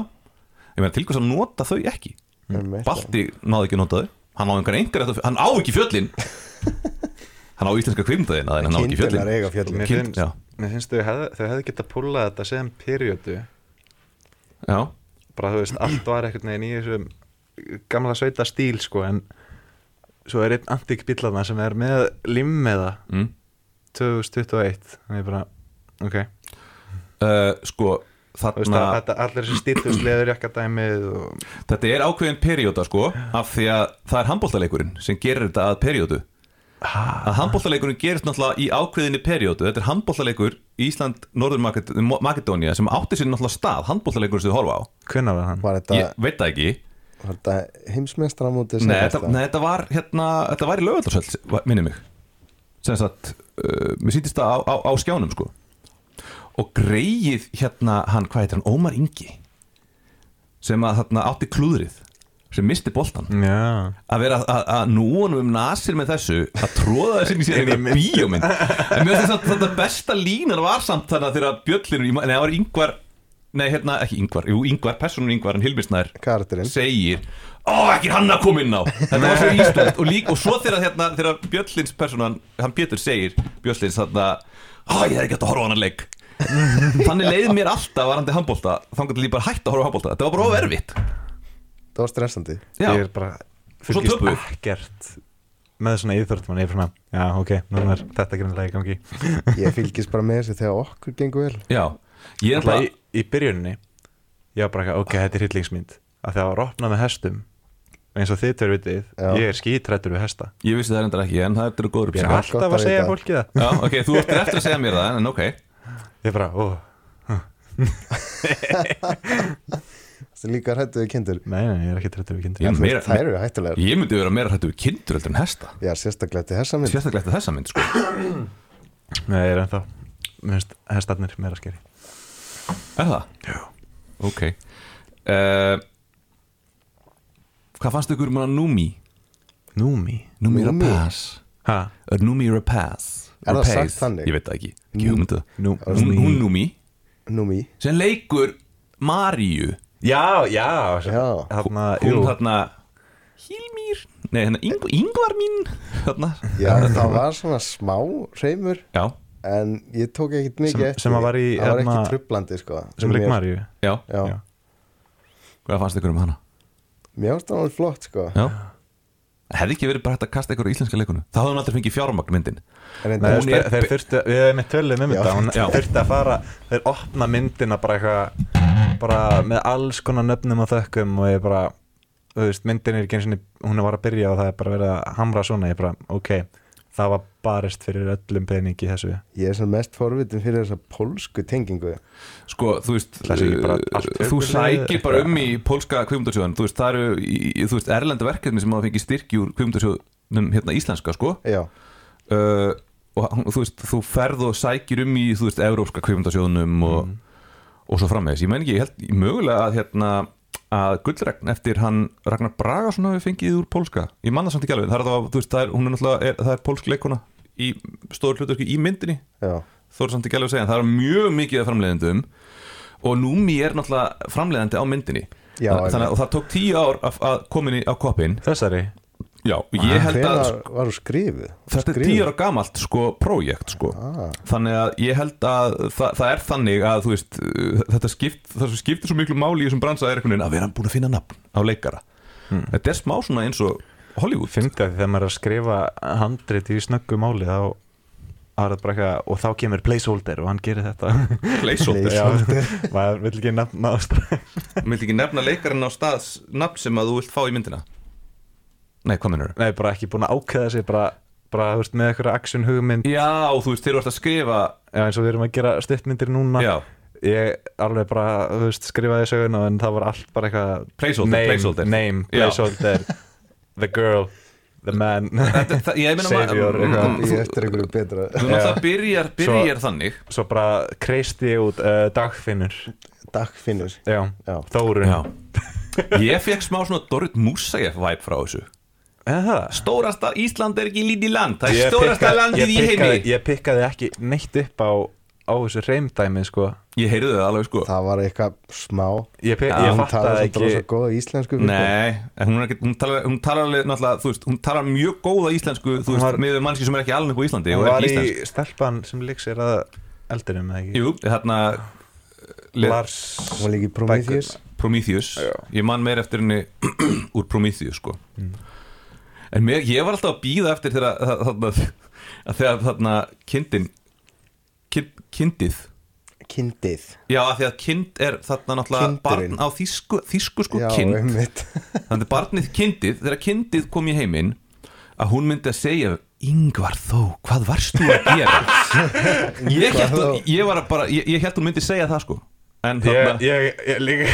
S1: Ég meina til hvers að nota þau ekki
S3: því
S1: Balti náði ekki að nota þau Hann á einhvern engar eftir, hann á ekki
S3: [laughs]
S1: fjöllin Hann á íslenska kvimdaðina en hann á ekki
S3: Kindunar
S1: fjöllin
S3: eiga fjöllin
S4: Mér
S1: Kind-
S4: finnst,
S1: já.
S4: mér finnst þau, hef, þau hefði getað púlað þetta sem periodu
S1: Já,
S4: bara þú veist, allt var einhvern veginn í þessum gamla sveita stíl sko en svo er einn antík bílana sem er með limmeða
S1: mm.
S4: 2021 þannig bara, ok
S1: uh, sko
S4: þú veist
S1: Þarna,
S4: að þetta allir þessi stílust leður jakka dæmið og
S1: þetta er ákveðin perióda sko af því að það er handbóltaleikurinn sem gerir þetta að periódu að handbóltaleikurinn gerist náttúrulega í ákveðinni periódu, þetta er handbóltaleikur Ísland, Norður Makedónia sem átti sér náttúrulega stað, handbóltaleikurinn sem þið horfa á
S4: hvenær var hann?
S3: Var þetta,
S1: ég veit það ekki
S3: var þetta heimsmeistramótið sem
S1: nei
S3: var
S1: þetta, nei, þetta var hérna, þetta var í lögöldarsöld minni mig sem sagt, uh, mér sýntist það á, á, á skjánum sko og greið hérna hann, hvað heitir hann, Ómar Ingi sem að þarna átti klúðrið sem misti boltan
S4: Já,
S1: að vera að- að- að nú honum um nasir með þessu að tróða þessi inn í sér einhver bíómynd en mér finnst þetta, þetta besta línan var samt þannig að þegar bjöllinu nei það var yngvar, nei hérna ekki yngvar jú yngvar, personun yngvar en Hilmisnær
S3: Karakterinn
S1: segir ó ekki hann að koma inn á þetta var svo íslenskt og, lík, og svo þegar, hérna, þegar bjöllins personan, hann Pétur segir bjöllins þarna, ó ég er ekki hægt að horfa á hann að leik þannig leið mér alltaf varandi handbólta þannig að ég bara hætti að horfa á handbólta þetta var bara of erfitt
S3: Það var stressandi
S1: Já.
S4: ég er bara
S1: svo
S4: fylgist
S1: töpuðu.
S4: ekkert með svona íþróttum en ég er svona, já ok, núna er þetta grunlega í gangi
S3: Ég fylgist bara með þessu þegar okkur gengur vel
S1: Já, ég er
S4: Alltaf
S1: bara
S4: í, í byrjuninni Ég var bara ekki, ok, þetta er hryllingsmynd að Það var opnað með hestum eins og þið tveir vitið,
S3: Já.
S4: ég er skítrættur við hesta
S1: Ég vissi það reyndar ekki, en það er góður upplýsing
S4: Ég er
S3: Já, gott
S4: alltaf að
S3: að
S4: segja
S3: vita.
S4: fólki það
S1: Já, ok, þú ertur eftir að segja mér það, en ok
S4: Ég bara, ó,
S3: Þetta er líka hættu við kindur
S4: Nei, nei, ég er ekki trættur við
S1: Ég
S4: kindur
S1: er meira-
S3: Það eru hættulegar
S1: Ég myndi vera meira hættu við kindur heldur en hesta
S3: Já, sérstaklega til þessa mynd
S1: Sérstaklega eftir þessa mynd sko
S4: Nei, ég er ennþá Mér finnst hestarnir meira skeri
S1: Er það? Já Ok uh, Hvað fannst ykkur um hana Númi?
S4: Númi
S1: Númi
S3: Númi?
S1: Rapaz
S4: Ha?
S1: Er Númi Rapaz
S3: Er það
S1: Rapaz?
S3: sagt þannig?
S1: Ég veit það ekki Ekki hugmyndu
S4: Nú,
S1: Hún, hún Númi
S3: Númi
S1: sem leikur Maríu
S4: Já, já
S3: Já.
S4: Þarna,
S1: Hún
S4: jú
S1: þarna Hilmir Nei, hérna Yng Yngvar mín Þarna
S3: Já, það var svona smá reymur
S1: Já
S3: En ég tók ekkit mikið
S4: Sem-
S3: eftir
S4: sem að var í,
S3: Það var ekki
S4: hérna,
S3: trublandi, sko
S4: Sem
S3: Mér-
S4: leik Maríu
S1: Já
S3: Já,
S4: Já.
S1: Hvað fannst ykkur um hana?
S3: mér ást það alveg flott, sko
S1: Já Hefði ekki verið bara hægt að kasta ykkur á íslenska leikunum Það hafði hún aldrei fengið fjármagn myndin
S3: En
S4: Nei,
S3: reyndar-
S1: hún
S4: þeir,
S1: er-
S4: þeir þurftu, við hefum eitt tölum um
S3: Já.
S4: þetta hún
S1: Já.
S4: þurfti að fara, þeir opna myndina bara eitthvað, bara með alls konar nöfnum og þökkum og ég bara, þú veist, myndin er ekki eins og hún var að byrja og það er bara verið að hamra svona, ég bara, ok það var barist fyrir öllum peningi í þessu
S3: Ég er sem mest forvitin fyrir þessa pólsku tengingu
S1: Sko, þú veist,
S4: Það sé ekki bara
S1: uh,
S4: allt
S1: þú
S4: öðruvísi,
S1: sækir bara
S4: eitthvað.
S1: um í pólska kvikmyndasjóðan Þú veist, það eru, í- í- þú veist, erlenda verkefni sem hafa fengið styrki úr kvikmyndasjóðnum hérna íslenska, sko
S3: Já,
S1: uh, Og hann- þú veist, þú ferð og sækir um í, þú veist, evrópska kvikmyndasjóðnum og,
S3: Mhm.
S1: og svo framvegis Ég menn ekki, ég held mögulega að hérna að gullregn eftir hann Ragnar Bragason hafi fengið úr pólska Ég manna samt ekki alveg, það er það, þú veist, það er, hún er náttúrulega, er, það er pólsk leikuna í stóru hluturki í myndinni
S3: já,
S1: þó er samt ekki alveg að segja en það er mjög mikið af framleiðendum og Númi er náttúrulega framleiðandi á myndinni Þa-
S3: Já, einmitt.
S1: þannig að og það tók tíu ár að, að komin í, á koppin
S4: þessari,
S1: já, og ég held að
S3: hvenar
S1: sko,
S3: var þú skrifuð?
S1: þetta er tíu ára gamalt sko projekt sko þannig að ég held að það, það er þannig að þú veist uh, þetta skipt, það sem skiptir svo miklu máli í þessum bransa er einhvern veginn að vera búin að finna nafn á leikara
S4: Hmm.
S1: þetta er smá svona eins og Hollywood
S4: fyndi að þegar maður er að skrifa handrit í snöggu máli þá var þetta bara eitthvað, og þá kemur placeholder og hann gerir þetta
S1: [laughs] leysóttir,
S4: Já, [laughs] maður vil ekki nefna á strax
S1: vilt ekki nefna leikarinn á staðs nafn sem að þú vilt fá í myndina nei, hvað minnur
S4: Nei, bara ekki búin að ákveða sig bara, bara þú veist, með eitthvað action hugmynd
S1: Já, þú veist, þeir eru alltaf að skrifa
S4: Já, eins og við erum að gera stuttmyndir núna
S1: Já.
S4: Ég alveg bara, þú veist, skrifaði söguna en það var allt bara eitthvað
S1: Placeholder,
S4: Name,
S1: placeholder.
S4: name,
S1: Já.
S4: placeholder The girl, the man
S1: Þetta- það- Ég meina
S4: Savior,
S1: maður
S4: eitthvað.
S1: Mm,
S3: Ég eftir einhverju betra
S1: Þú náttúrulega byrjar, byrjar þannig
S4: Svo bara kreisti ég út uh, dagfinnur
S3: Dagfinnur
S4: Já,
S3: Já.
S4: Þórun
S1: Ég fekk smá svona Dorit Musaeff væp frá þessu
S4: Eða það?
S1: Stórasta Ísland er ekki lítið land Það
S4: Ég
S1: er stórasta
S4: pikka-
S1: landið
S4: ég
S1: í
S4: pikkaði-
S1: heimi
S4: Ég pikkaði ekki neitt upp á, á þessu reymdæmi, sko
S1: Ég heyrði það alveg sko
S3: Það var eitthvað smá
S4: Ég, pik,
S1: Já,
S4: ég
S3: Hún
S4: fattaði
S3: talaði
S4: ekki
S3: svolítið svo góða íslensku sko. fyrir það.
S1: Nei, en hún, er ekki, hún, talar, hún talar alveg náttúrulega, þú veist, hún talar mjög góða íslensku, þú
S4: Hún
S1: veist,
S4: var-
S1: með mannski sem er ekki alveg upp á Íslandi
S4: Hún
S1: og er
S4: var
S1: ekki
S4: í
S1: íslensk.
S4: stelpan sem líks er að eldinum eða ekki
S1: Jú, þarna le-
S4: Lars
S3: Hún var líka í Prometheus
S1: Prometheus ég man meir eftir henni [clears throat] úr Prometheus sko. en mér, ég var alltaf að býða eftir þegar að- þarna, að þegar þarna kindin kin, kindið
S3: Kindið
S1: já af því að kind er þarna náttúrulega
S3: Kindurinn.
S1: barn á þýsku, þýsku sko
S3: Já,
S1: kind
S3: einmitt
S1: þannig að barnið kindið, þegar kindið kom í heiminn að hún myndi að segja Yngvar þó, hvað varst þú að
S4: [laughs]
S1: gera ég
S3: Yngvar
S1: held
S3: Þór.
S1: ég var að bara, ég, ég held hún myndi segja það sko en þarna,
S4: ég, ég, ég [laughs] líka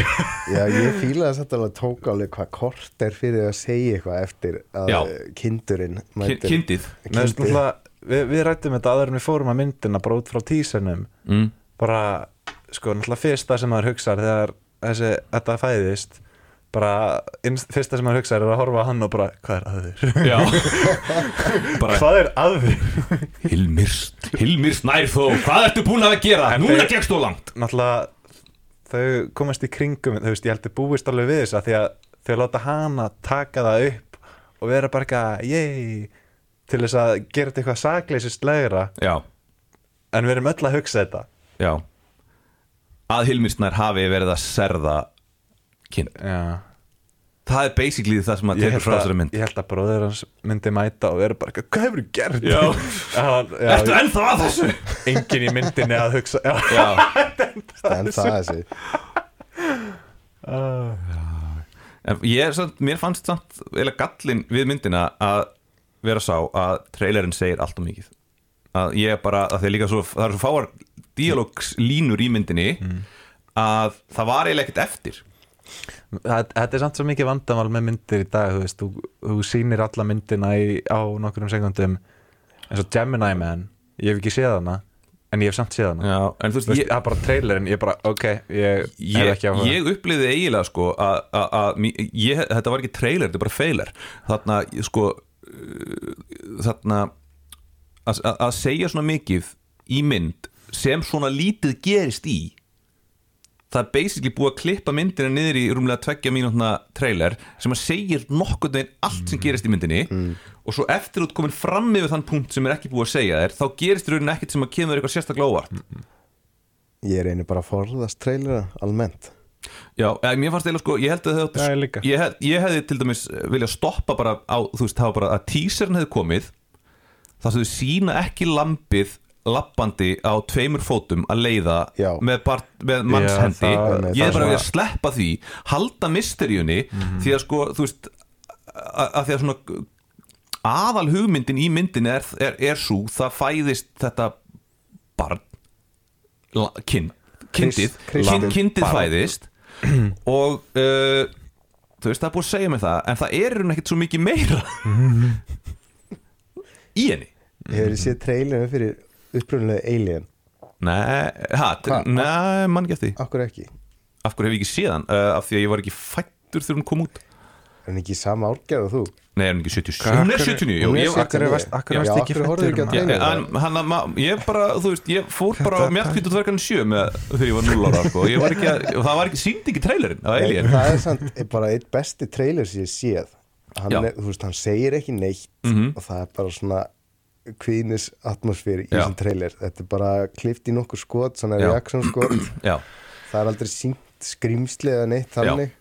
S3: Já, ég fílaði að þetta alveg tók alveg hvað kort er fyrir að segja eitthvað eftir að
S1: Já. kindurinn
S3: kindurinn
S1: kin,
S3: mætir
S1: kindið
S4: Nei, veist,
S3: Kindið
S4: náttúrulega, við, við rættum þetta aður en við fórum að myndina bara út frá tísanum
S1: mm.
S4: bara sko náttúrulega fyrsta sem maður hugsar þegar þessi, þetta fæðist bara innst, fyrsta sem maður hugsar er að horfa á hann og bara hvað er að þér?
S1: Já Bara
S4: [laughs] hvað er að þér?
S1: [laughs] Hilmir, Hilmir Snærþó Hvað ertu búin að gera?
S4: En
S1: Núna
S4: þeir-
S1: gegst þú langt
S4: náttúrulega þau komast í kringum þú veist, ég heldur búist alveg við þess að því að þau láta hana taka það upp og vera bara eitthvað, yey til þess að gera þetta eitthvað sakleisist legra
S1: Já,
S4: en við erum öll að hugsa þetta
S1: já Að Hilmir Snær hafi verið að serða kynnt
S4: Já,
S1: Það er basically það sem að
S4: ég
S1: tekur
S4: held
S1: frá
S4: að,
S1: þessari mynd
S4: ég held að bróður hans myndi mæta og vera bara eitthvað, hvað hefur þú gert?
S1: Já.
S4: Hann- [laughs] já,
S1: Ertu ennþá að þessu?
S4: [laughs] enginn í myndinni að hugsa já,
S1: Já,
S3: En það þessi
S1: en ég, er samt, mér fannst samt eða gallin við myndina að vera sá að trailerinn segir allt og mikið að ég bara, að þeir líka svo það eru svo fáar dialogslínur í myndinni að það var eiginlega ekkert eftir
S4: Það- Þetta er samt svo mikið vandamál með myndir í dag þú veist, þú, þú sýnir alla myndina í, á nokkrum sekundum eins og Gemini Man, ég hef ekki séð hana en ég hef samt séð hana
S1: Já, en þú
S4: Þú
S1: veist,
S4: veist,
S1: ég,
S4: það er bara trailerinn, ég er bara, ok ég, ég er
S1: ég,
S4: ekki á
S1: ég upplýði eiginlega sko að að- að mí- ég- þetta var ekki trailer, þetta er bara feiler þarna ég, sko uh, þarna að, að- að segja svona mikið í mynd sem svona lítið gerist í það er basically búið að klippa myndina niður í rúmlega tveggja mínútna trailer sem að segir nokkurn veginn allt
S4: Mhm.
S1: sem gerist í myndinni
S4: Mm.
S1: og svo eftir út komin fram yfir þann punkt sem er ekki búið að segja þér þá gerist í rauninni ekkert sem að kemur þér eitthvað sérstaklega óvart
S3: Ég reyni bara að forðast trailera almennt
S1: Já, eða, mér fannst eiginlega sko, ég held að þau
S4: Já, ég líka.
S1: ég, hef, ég hefði til dæmis vilja stoppa bara á, þú veist, það var bara að teaserin hefði komið þar sem þau sína ekki lampið lappandi á tveimur fótum að leiða
S3: Já.
S1: með, bar, með mannshendi
S4: Já, það-
S1: ég
S3: það
S1: er bara að
S3: svona-
S1: vilja sleppa því halda mysteríunni
S4: Mhm.
S1: því að sko, þú veist að, að því að svona aðal hugmyndin í myndin er, er, er svo það fæðist þetta barn la, kin, kindið
S3: Krist-
S1: kin, kindið
S3: barn. [clears throat]
S1: fæðist og uh, þú veist það er búið að segja mig það en það er hún ekkert svo mikið
S3: [laughs]
S1: meira í henni
S3: Hefur þið séð trailerin fyrir upprunnulega Alien?
S1: Nei, hát,
S3: Hva?
S1: nei, mann ekki eftir því.
S3: Akkur ekki
S1: Af hverju hef ég ekki séð hann? Uh, af því að ég var ekki fættur þegar hún kom út
S3: Er hann ekki í sama árgerð og þú?
S1: Nei, er hún ekki 77?
S4: Hvað,
S1: Hún er
S4: af hverju-
S1: 79,
S3: hún
S1: jú,
S3: er
S1: ég,
S3: 79.
S4: Akkur varst
S3: Já,
S4: ekki
S3: af hverju horfðu ekki
S4: fættur
S3: á
S4: um
S1: Já,
S4: hana?
S3: trailerinn?
S1: en hann að ma- ég bara, þú veist, ég fór bara mjallkvítu dvergan sjö með þegar ég var 0 ára, sko Ég var ekki að, það var ekki, síndi ekki trailerinn á
S3: Nei,
S1: Alien
S3: það er samt bara eitt besti trailer sem ég séð hann,
S1: Já. Mhm.
S3: er, þú veist, hann segir ekki neitt og það er bara svona kvíðnis atmosfér í
S1: Já.
S3: þessum trailer þetta er bara klift í nokkur skot svona
S1: Já.
S3: reaksjón skot
S1: Já,
S3: það er aldrei sínt skrýmsli eða neitt
S1: Já.
S3: þannig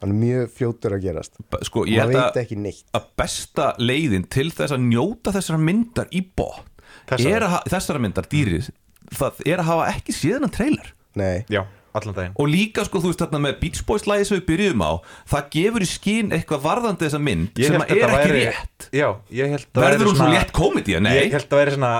S3: hann er mjög fljótur að gerast
S1: b- sko, ég
S3: maður
S1: held
S3: veit
S1: að,
S3: ekki neitt
S1: að besta leiðin til þess að njóta þessara myndar í bótt
S4: Þessara.
S1: Þessara myndar, dýrið, það er að hafa ekki séðan trailer
S3: Nei,
S4: Já, allan daginn
S1: Og líka sko þú veist þarna með Beach Boys lægi sem við byrjuðum á Það gefur í skín eitthvað varðandi þessa mynd sem
S4: hélt
S1: er
S4: þetta
S1: ekki
S4: væri-
S1: rétt
S4: Já, ég held það væri
S1: Verður hún svo
S4: svona-
S1: létt komedía? Nei
S4: Ég held að vera svona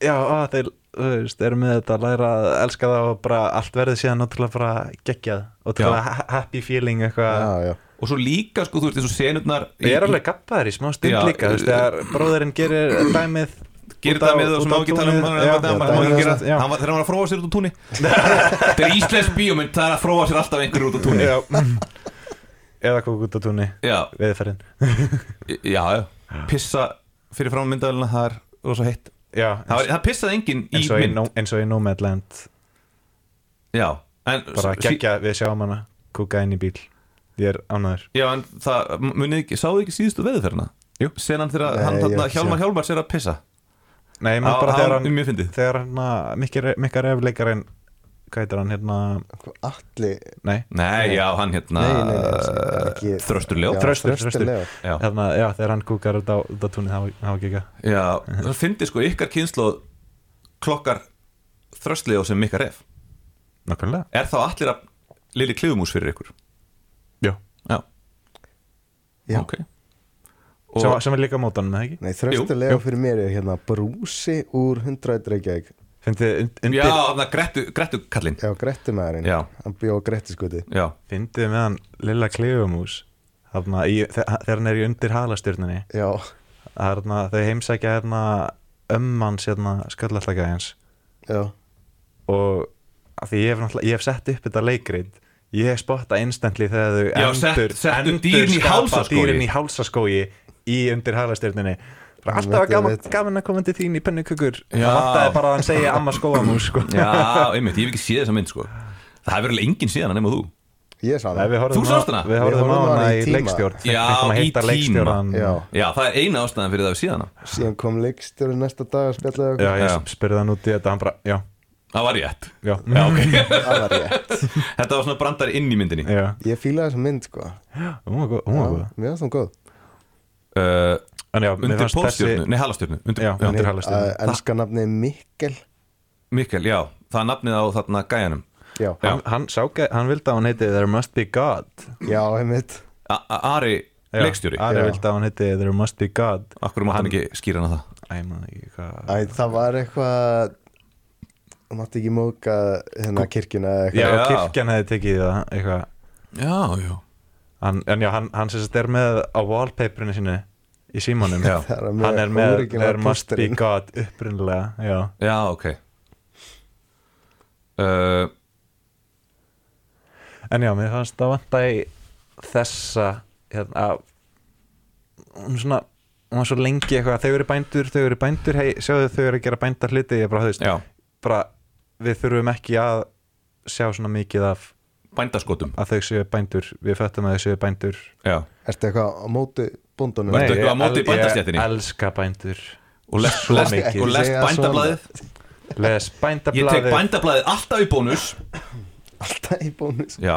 S4: Já, að þeir, þú veist, eru með þetta að læra að elska það og bara allt verður síðan náttúrulega bara geggjað og til
S1: Já.
S4: að ha- happy feeling eitthvað
S3: já, já
S1: Og svo líka sko þú veist þessu senurnar
S4: Ég er alveg gappaður í smá stund
S1: Já, eh,
S4: líka, þú veist, þegar bróðurinn gerir dæmið
S1: Gerir
S4: út á-
S1: það með það
S4: út
S1: sem má
S4: á
S1: ekki tala um
S4: túnið.
S1: hann,
S4: Já,
S1: hann, hann, hann,
S4: dæmið
S1: hann,
S4: og
S1: gera,
S4: svona, já.
S1: hann var, Þegar hann var að fróa sér út á túnni [laughs] Þetta er íslensk bíómynd, það er að fróa sér alltaf einhver út á [laughs] túnni Já,
S4: Já. Eða kók út á túnni,
S1: já,
S4: viðferðin
S1: já. Pissa fyrir fram myndavælina, það er rosa heitt
S4: Já,
S1: Það, var, það pissaði enginn í
S4: eins og í
S1: mynd
S4: No- eins og í Nomadland
S1: Já, en
S4: bara
S1: sí-
S4: geggja, við sjáum hana kúka inn í bíl, ég er ánæður
S1: Já, en það, munið ekki, sáðu ekki síðustu veðuferna? Jú Senan þegar
S3: Nei,
S1: hann
S3: ég
S1: þarna,
S3: ekki
S1: Hjálmar Hjálmar sér að pissa
S4: Nei, ég
S1: Á-
S4: maður bara
S1: á- um
S4: þegar hann
S1: mjög fyndið.
S4: Þegar hann, að Mikki Re- Mikka Refleikarinn Hvað heitir hann, hérna
S3: Allir,
S4: Nei,
S1: Nei, já, hann hérna
S3: Nei, nei, nei, það er ekki-
S1: uh, Þröstur Ljó
S3: Já.
S4: Þröstur,
S3: Þröstur
S4: Þröstur
S3: Leó.
S1: Já.
S4: Hérna, já, þegar hann kúkar út á, út á túnið Það var- það var ekki ekki
S1: Já, það fyndi sko ykkar kynslu klokkar Þröstur Ljó sem mikka ref
S4: Nákvæmlega
S1: Er þá allir að lili klifumús fyrir ykkur?
S4: Já
S1: Já,
S3: já
S1: ok Og,
S4: sem, sem er líka mótanum, eða ekki?
S3: Nei,
S1: Jú,
S3: þröstulega
S1: jú.
S3: fyrir mér er hérna brúsi úr 100 Reykjavík
S4: Fyndið
S1: Já,
S4: undir
S1: þannig að Grettu, Grettu kallinn
S3: Já, Grettumæðurinn,
S1: Já.
S3: hann bjó á Grettiskuti
S1: Já,
S4: Fyndið með hann Lilla Klefumús Þarna, í, þe- þegar hann er í undir halastjörnunni
S3: Já,
S4: Þarna, þau heimsækja hérna Ömmans, hérna, skallallagæðins
S3: já,
S4: Og af Því ég hef, náttúrulega- ég hef sett upp þetta leikrit Ég hef spottað instantly þegar þau
S1: Já, sett-
S4: endur,
S1: settu
S4: endur
S1: dýrin í
S4: skapa
S1: hálsaskógi.
S4: dýrin í hálsaskógi Í undir halastjörnunni Bara
S3: Ég
S4: alltaf
S3: veit, ég
S4: gaman,
S3: veit.
S4: gaman að koma til þín í pennukökur Það
S1: Já.
S4: vantaði bara að hann segja amma skóamús sko.
S1: já, einmitt, ég hef ekki séð þessa mynd sko Það hefur alveg enginn séðan nema þú
S3: ég sá
S4: Nei,
S3: það
S4: við horfðum
S1: Þú sást hana?
S4: á- Við horfðum á hana í
S3: tíma.
S4: leikstjórn
S1: Já,
S4: Fengum að
S1: í
S4: hitta
S1: tíma.
S4: leikstjóran
S3: Já,
S1: Já, það er eina ástæðan fyrir það við síðana
S3: síðan kom leikstjóri næsta dag að spjalla
S4: Já,
S3: okkur
S4: ég
S1: Já.
S4: spurði hann út í þetta Hann bara, já,
S1: Það var rétt
S4: já,
S1: Já, ok [laughs]
S3: Það var rétt
S1: Þetta var svona brandar inn í myndinni
S4: [laughs] já.
S3: Ég fílaði þessa mynd sko
S4: Hún var góð, hún var góð
S3: Já, Mér var það góð
S1: uh,
S4: En já, mér
S1: Undir
S4: fannst
S1: pólstjörnu, nei halastjörnu undir,
S4: Já,
S1: já.
S4: undir
S3: Nei,
S4: halastjörnu
S3: að Enska nafni Mikkel
S1: Mikkel, já, það er nafnið á þarna gæjanum
S3: Já,
S1: Já.
S4: Hann, hann, sá, gæ- hann vildi að hann heiti There Must Be God
S3: já, einmitt
S1: A- A- Ari
S4: Já,
S1: leikstjóri,
S4: Ari
S3: Já.
S4: vildi að hann heiti There Must Be God
S1: akkur má hann ekki skýra hana það
S4: Æ, maður ekki hvað
S3: Æ, það var eitthvað Það mátti ekki móka hérna kirkjuna eða
S4: Já,
S1: Já.
S4: kirkjan hefði tekið það eitthvað
S1: já, já
S4: hann, en já, hann, hann sem sagt er með á wallpaperinu sínu í símanum
S1: Já.
S3: [laughs] Það er með
S4: hann er með
S3: original
S4: er must be
S3: pósterinn.
S4: god upprunnilega já.
S1: Já, ok uh,
S4: en já, mér fannst það vanta í þessa hérna, að hún svona hún var svo lengi eitthvað, þau eru bændur þau eru bændur, hei, sjáðu þau eru að gera bændar hluti ég bara, þú veist,
S1: Já,
S4: bara við þurfum ekki að sjá svona mikið af
S1: bændaskotum
S4: að þau séu bændur, við föttum að þau séu bændur
S1: Já,
S3: Ertu eitthvað á móti bóndunum?
S1: Nei. Ertu eitthvað á móti
S4: ég-
S1: bændastéttinni?
S4: Ég elska bændur
S1: og les,
S4: Svo
S1: les,
S4: mikið.
S1: og les
S3: Segja
S1: bændablaðið
S4: Les
S1: Ég tek
S4: bændablaðið
S1: bændablaðið alltaf í bónus
S3: Alltaf í bónus
S1: Já,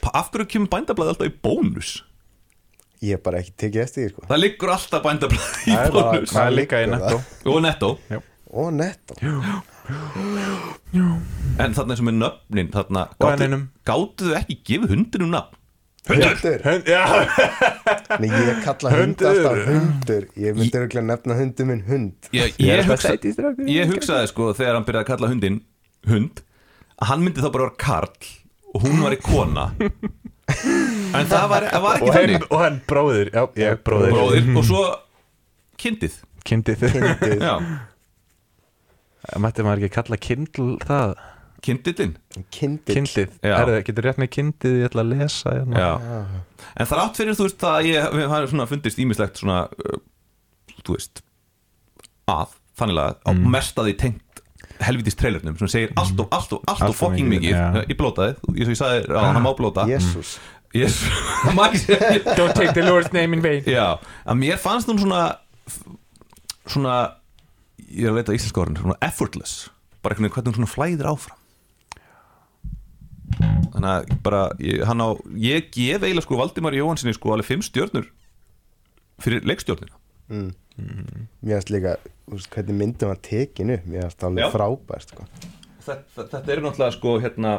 S1: Pa- af hverju kemur bændablaðið alltaf í bónus?
S3: Ég er bara ekki tekið eftir því sko
S1: Það liggur alltaf bændablaðið í
S3: Það er bara-
S1: bónus
S4: Það er líka í
S3: Liggur
S4: netto
S1: Og nettó
S3: Og netto
S1: En þarna eins og með nöfnin þarna,
S4: Og
S1: gátu-
S4: enninum.
S1: Gátu þau ekki gefið hundinum nafn?
S3: Hundur
S4: Hund- Já,
S3: Nei, ég kalla hund
S4: Hundur.
S3: alltaf hundur Ég myndi örgulega nefna hundur minn hund
S1: Ég,
S4: Ég
S1: ég,
S4: er
S1: hugsa,
S4: þetta í strákur.
S1: ég hugsaði sko þegar hann byrjaði að kalla hundin hund að hann myndi þá bara vera karl og hún var í kona en það var, það var
S4: og
S1: ekki
S4: hann,
S1: þannig
S4: og hann bróðir Já, ég bróðir,
S1: bróðir og svo kindið
S4: Kindið þið
S3: Hundur,
S1: já,
S4: Mætti maður ekki kalla kindl það
S1: kindillinn
S3: kindill
S4: Kindlið,
S1: Já.
S4: Herðu, getur rétt með kindið Ég ætla að lesa hérna.
S1: já. en þrátt fyrir þú veist það ég við- það er svona fundist ímislegt svona uh, þú veist að, þannig að á
S4: Mm.
S1: mesta því tengt helvitis trailernum sem segir allt og allt og allt og
S4: Allt of
S1: fucking
S4: mikið,
S1: mikið
S4: já. Mm.
S1: ég blótaði, eins og ég sagði, ráðan, hann má blóta
S3: Jésús
S1: Yes, það má ekki segja
S4: [laughs] Don't take the Lord's name in vain
S1: Já, að mér fannst hún svona Svona Ég er að leita íslenska orðin, svona effortless Bara einhvern veginn hvernig hún svona flæðir áfram Þannig að bara, ég, hann á Ég gef eiginlega sko Valdimar Jóhansinni sko alveg fimm stjörnur Fyrir leikstjörnina
S3: Mér finnst líka, þú veist, hvernig myndum var tekinu Mér finnst
S1: Já.
S3: það alveg frábært sko.
S1: Þetta, þetta eru náttúrulega sko hérna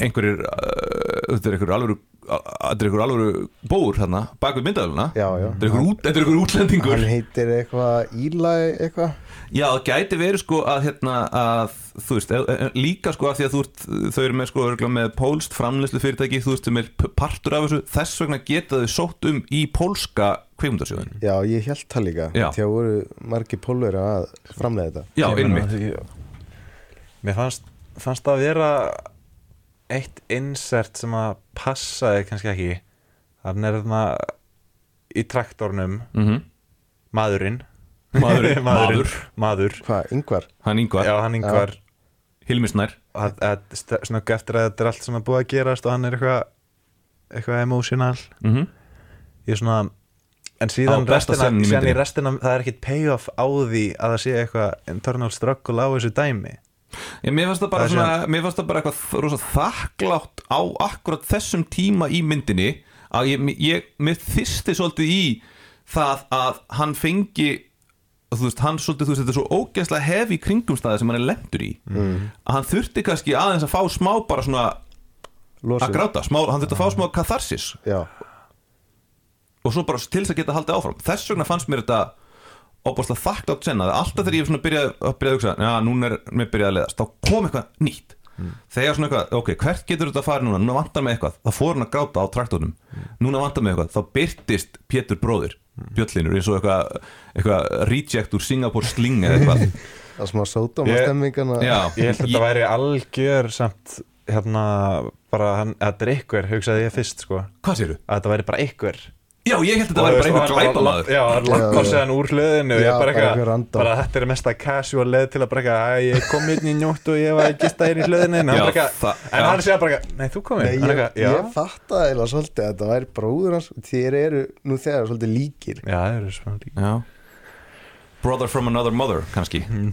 S1: Einhverjir uh, Þetta er einhverjir alvöru Þetta er einhverjir alvöru bóur hérna Bak við myndavöluna
S3: Já, já.
S1: Þetta er einhver út- þetta er einhverjir útlendingur
S3: Hann heitir eitthvað Íla eitthvað
S1: Já, það gæti verið sko að hérna að þú veist, e- e- líka sko að því að þú ert þau eru með sko örgulega með pólst framleyslu fyrirtæki, þú veist, sem er p- partur af þessu þess vegna geta þau sótt um í pólska kveimundasjóðin.
S3: Já, ég held það líka
S1: Já.
S3: Þegar voru margir pólver að framlega þetta
S1: Já,
S4: Ég meina,
S1: innmitt.
S4: því- Mér fannst, fannst það að vera eitt insert sem að passaði kannski ekki þannig er þarna í traktornum
S1: Mm
S4: maðurinn
S1: Maðurinn,
S4: [laughs] maðurinn,
S1: maður.
S4: maður
S3: Hvað, yngvar?
S1: Hann
S4: já,
S1: yngvar,
S4: hann yngvar
S1: Hilmisnær.
S4: að- að st- snögg eftir að þetta er allt sem er búið að gerast og hann er eitthvað eitthvað emotional
S1: Mm
S4: ég er svona en síðan
S1: Á besta
S4: restina,
S1: senu í
S4: síðan í
S1: myndinni.
S4: restina það er ekkit payoff á því að það sé eitthvað internal struggle á þessu dæmi
S1: Ég, mér fannst það bara,
S4: Það er
S1: svona, mér fannst það bara eitthvað rosa þakklátt á akkurat þessum tíma í myndinni að ég, ég mér þyrsti svolítið í það að hann fengi þú veist, hann svolítið, þú veist, þetta er svo ógeðslega hefi kringumstæði sem hann er lendur í
S4: Mm.
S1: að hann þurfti kannski aðeins að fá smá bara svona
S3: Lósun
S1: að gráta, smá, hann þurfti að
S4: Mm.
S1: fá smá katharsis
S3: Já,
S1: og svo bara til þess að geta haldið áfram þess vegna fannst mér þetta opaslega þakklátt senna alltaf þegar ég svona byrjaði að byrjaði að hugsa já, núna er mér byrjaði að leiðast, þá kom eitthvað nýtt
S4: Mm.
S1: þegar svona eitthvað, ok, hvert getur þetta að fara núna núna vantar mig eitthvað, þá fór hann að gráta á traktornum
S4: Mm.
S1: núna vantar mig eitthvað, þá byrtist Pétur bróðir, Bjöllinur eins og eitthvað, eitthvað reject úr Singapore sling eða eitthvað
S4: [laughs]
S3: það er smá sótum
S4: Ég-
S3: að stemmingana
S1: já,
S4: ég held að þetta væri algjör samt hérna bara hann, að þetta er ykkur hugsaði ég fyrst sko að
S1: hvað séru?
S4: þetta væri bara ykkur
S1: Já, ég held að þetta væri bara einhver glæpamaður
S4: já, hann
S3: Já,
S4: lappar
S3: já.
S4: séðan úr hlöðinu
S3: Já,
S4: ég bara
S3: bara einhver
S4: eitthvað,
S3: random.
S4: bara þetta er mesta casual leið til að bara eitthvað, "Æ, ég kom inn í njótt og ég var að gista þér í hlöðinu en hann
S1: Já,
S4: bara eitthvað,
S1: það-
S4: en
S1: já.
S4: hann segja bara eitthvað nei, þú kom
S3: Nei,
S4: inn,
S3: ég,
S4: hann eitthvað, já
S3: ég fatta eða svolítið að þetta væri bróður hans Þér eru nú þegar svolítið líkir
S4: já, það eru svona líka
S1: Já Brother from another mother, kannski
S4: Mm.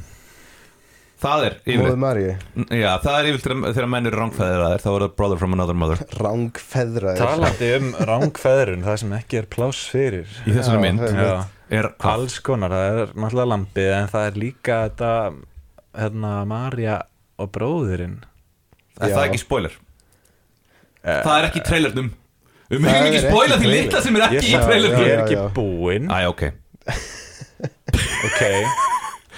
S1: Það er
S3: Móðu
S1: yfirleitt
S3: Maríu,
S1: Já, það er yfirleitt þegar- þegar menn eru rangfæðir að þér Þá er það brother from another mother
S3: rangfeðraður
S4: talandi um rángfæðrun, það sem ekki er pláss fyrir
S1: Í þessari
S3: Já,
S1: mynd
S3: það
S4: já,
S1: er hvað?
S4: alls konar, það er náttúrulega lampið en það er líka þetta hérna, Marja og bróðurinn
S1: Er það
S3: Já.
S1: ekki spoiler? Það er ekki í trailernum Við mögum
S3: Það
S1: ekki
S3: er
S1: spoila
S3: ekki
S1: því
S3: í
S1: litla sem er
S4: ég,
S1: ekki í
S4: sagði-
S1: trailernum
S4: ég er
S3: Já,
S4: ekki
S3: já, já.
S4: búinn
S1: Æ, ok
S4: ok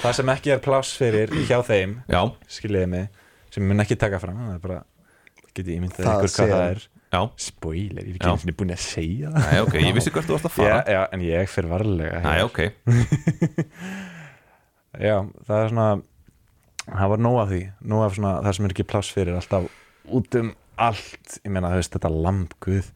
S4: það sem ekki er pláss fyrir hjá þeim
S1: Já,
S4: skiljiði mig, sem ég mun ekki taka fram það er bara, geti ímyndað
S3: Það
S4: ykkur hvað
S3: sé-
S4: það er
S1: Já,
S4: spoiler,
S1: Já.
S4: ég er ekki einu sinni búin að segja það
S1: Æ, ok, ég vissi hvert þú varst að fara
S4: já, eh. já, en ég fyrir varlega
S1: Æ, ok,
S4: já, það er svona það var nóg af því, nóg af svona það sem er ekki pláss fyrir alltaf út um allt, ég meina þú veist þetta lambguð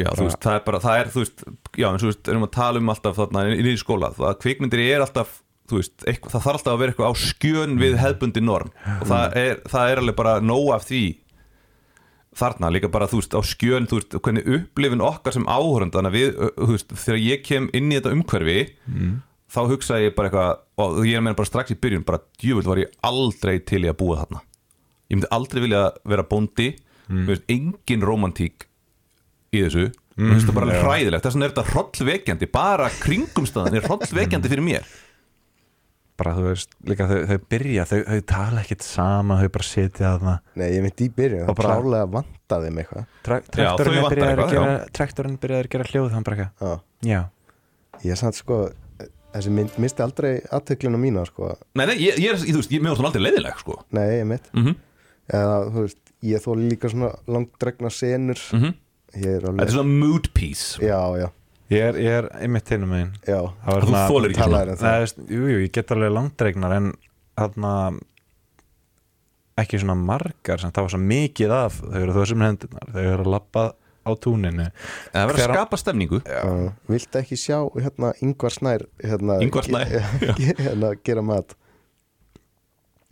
S1: já, þú veist, það er bara, það er, þú veist Já, en þú veist, erum að tala um alltaf þarna inn í skóla Það kvikmyndir er alltaf, þú veist, eitthvað, það þarf alltaf að vera eitthvað á skjön við hefbundi norm Og það er, það er alveg bara nóg af því þarna líka bara, þú veist, á skjön þú veist, hvernig upplifin okkar sem áhörnd þannig að við, ö, þú veist, þegar ég kem inn í þetta umhverfi þá hugsa ég bara eitthvað og ég er að meina bara strax í byrjun bara, djúvill var ég aldrei til í að búa þarna ég myndi aldrei vilja vera bóndi mm. veist, engin romantík í þessu mm. veist, það er bara alveg hræðilegt, þess vegna er þetta hrollvekjandi bara kringumstæðan er hrollvekjandi fyrir mér
S4: bara þú veist, líka þau, þau byrja þau, þau tala ekkert sama, þau bara sitja þarna
S3: Nei, ég myndi í byrjun,
S4: Og
S3: það
S4: bara-
S3: klálega vantaði þeim eitthvað
S4: Tra
S1: Já, þau
S4: traktorinn er
S1: vantar
S4: byrjaður að
S1: eitthvað,
S4: gera traktorinn byrjaður að gera hljóð hann bara ekki,
S3: Já,
S4: já,
S3: ég sann sko þessi mynd misti aldrei aðtökluna mína sko
S1: nei, nei, ég, ég, er- ég, þú veist, ég mér var þannig aldrei leiðileg sko.
S3: Nei, ég mitt
S1: Mhm.
S3: Eða, þú veist, ég þóli líka svona langdregna senur
S1: Mhm.
S3: Ég er
S1: þetta
S3: alveg
S1: er svona mood piece
S3: Já, já,
S4: ég er, ég er einmitt hinn um einn
S3: já
S4: Það var
S1: Þú
S4: svona-
S1: þolir ekki
S3: svona.
S4: Nei, þú veist, Jú, jú, ég get alveg langdregnar en þarna ekki svona margar sem það var svo mikið af þau eru þessum hendunar, þau eru að labba á túninu
S1: það verður að
S4: Hver-
S1: skapa stemningu
S3: Já. Viltu ekki sjá hérna Ingvar Snær hérna,
S1: Ingvar
S3: [laughs]
S1: Snær,
S3: ge- ge- hérna, gera mat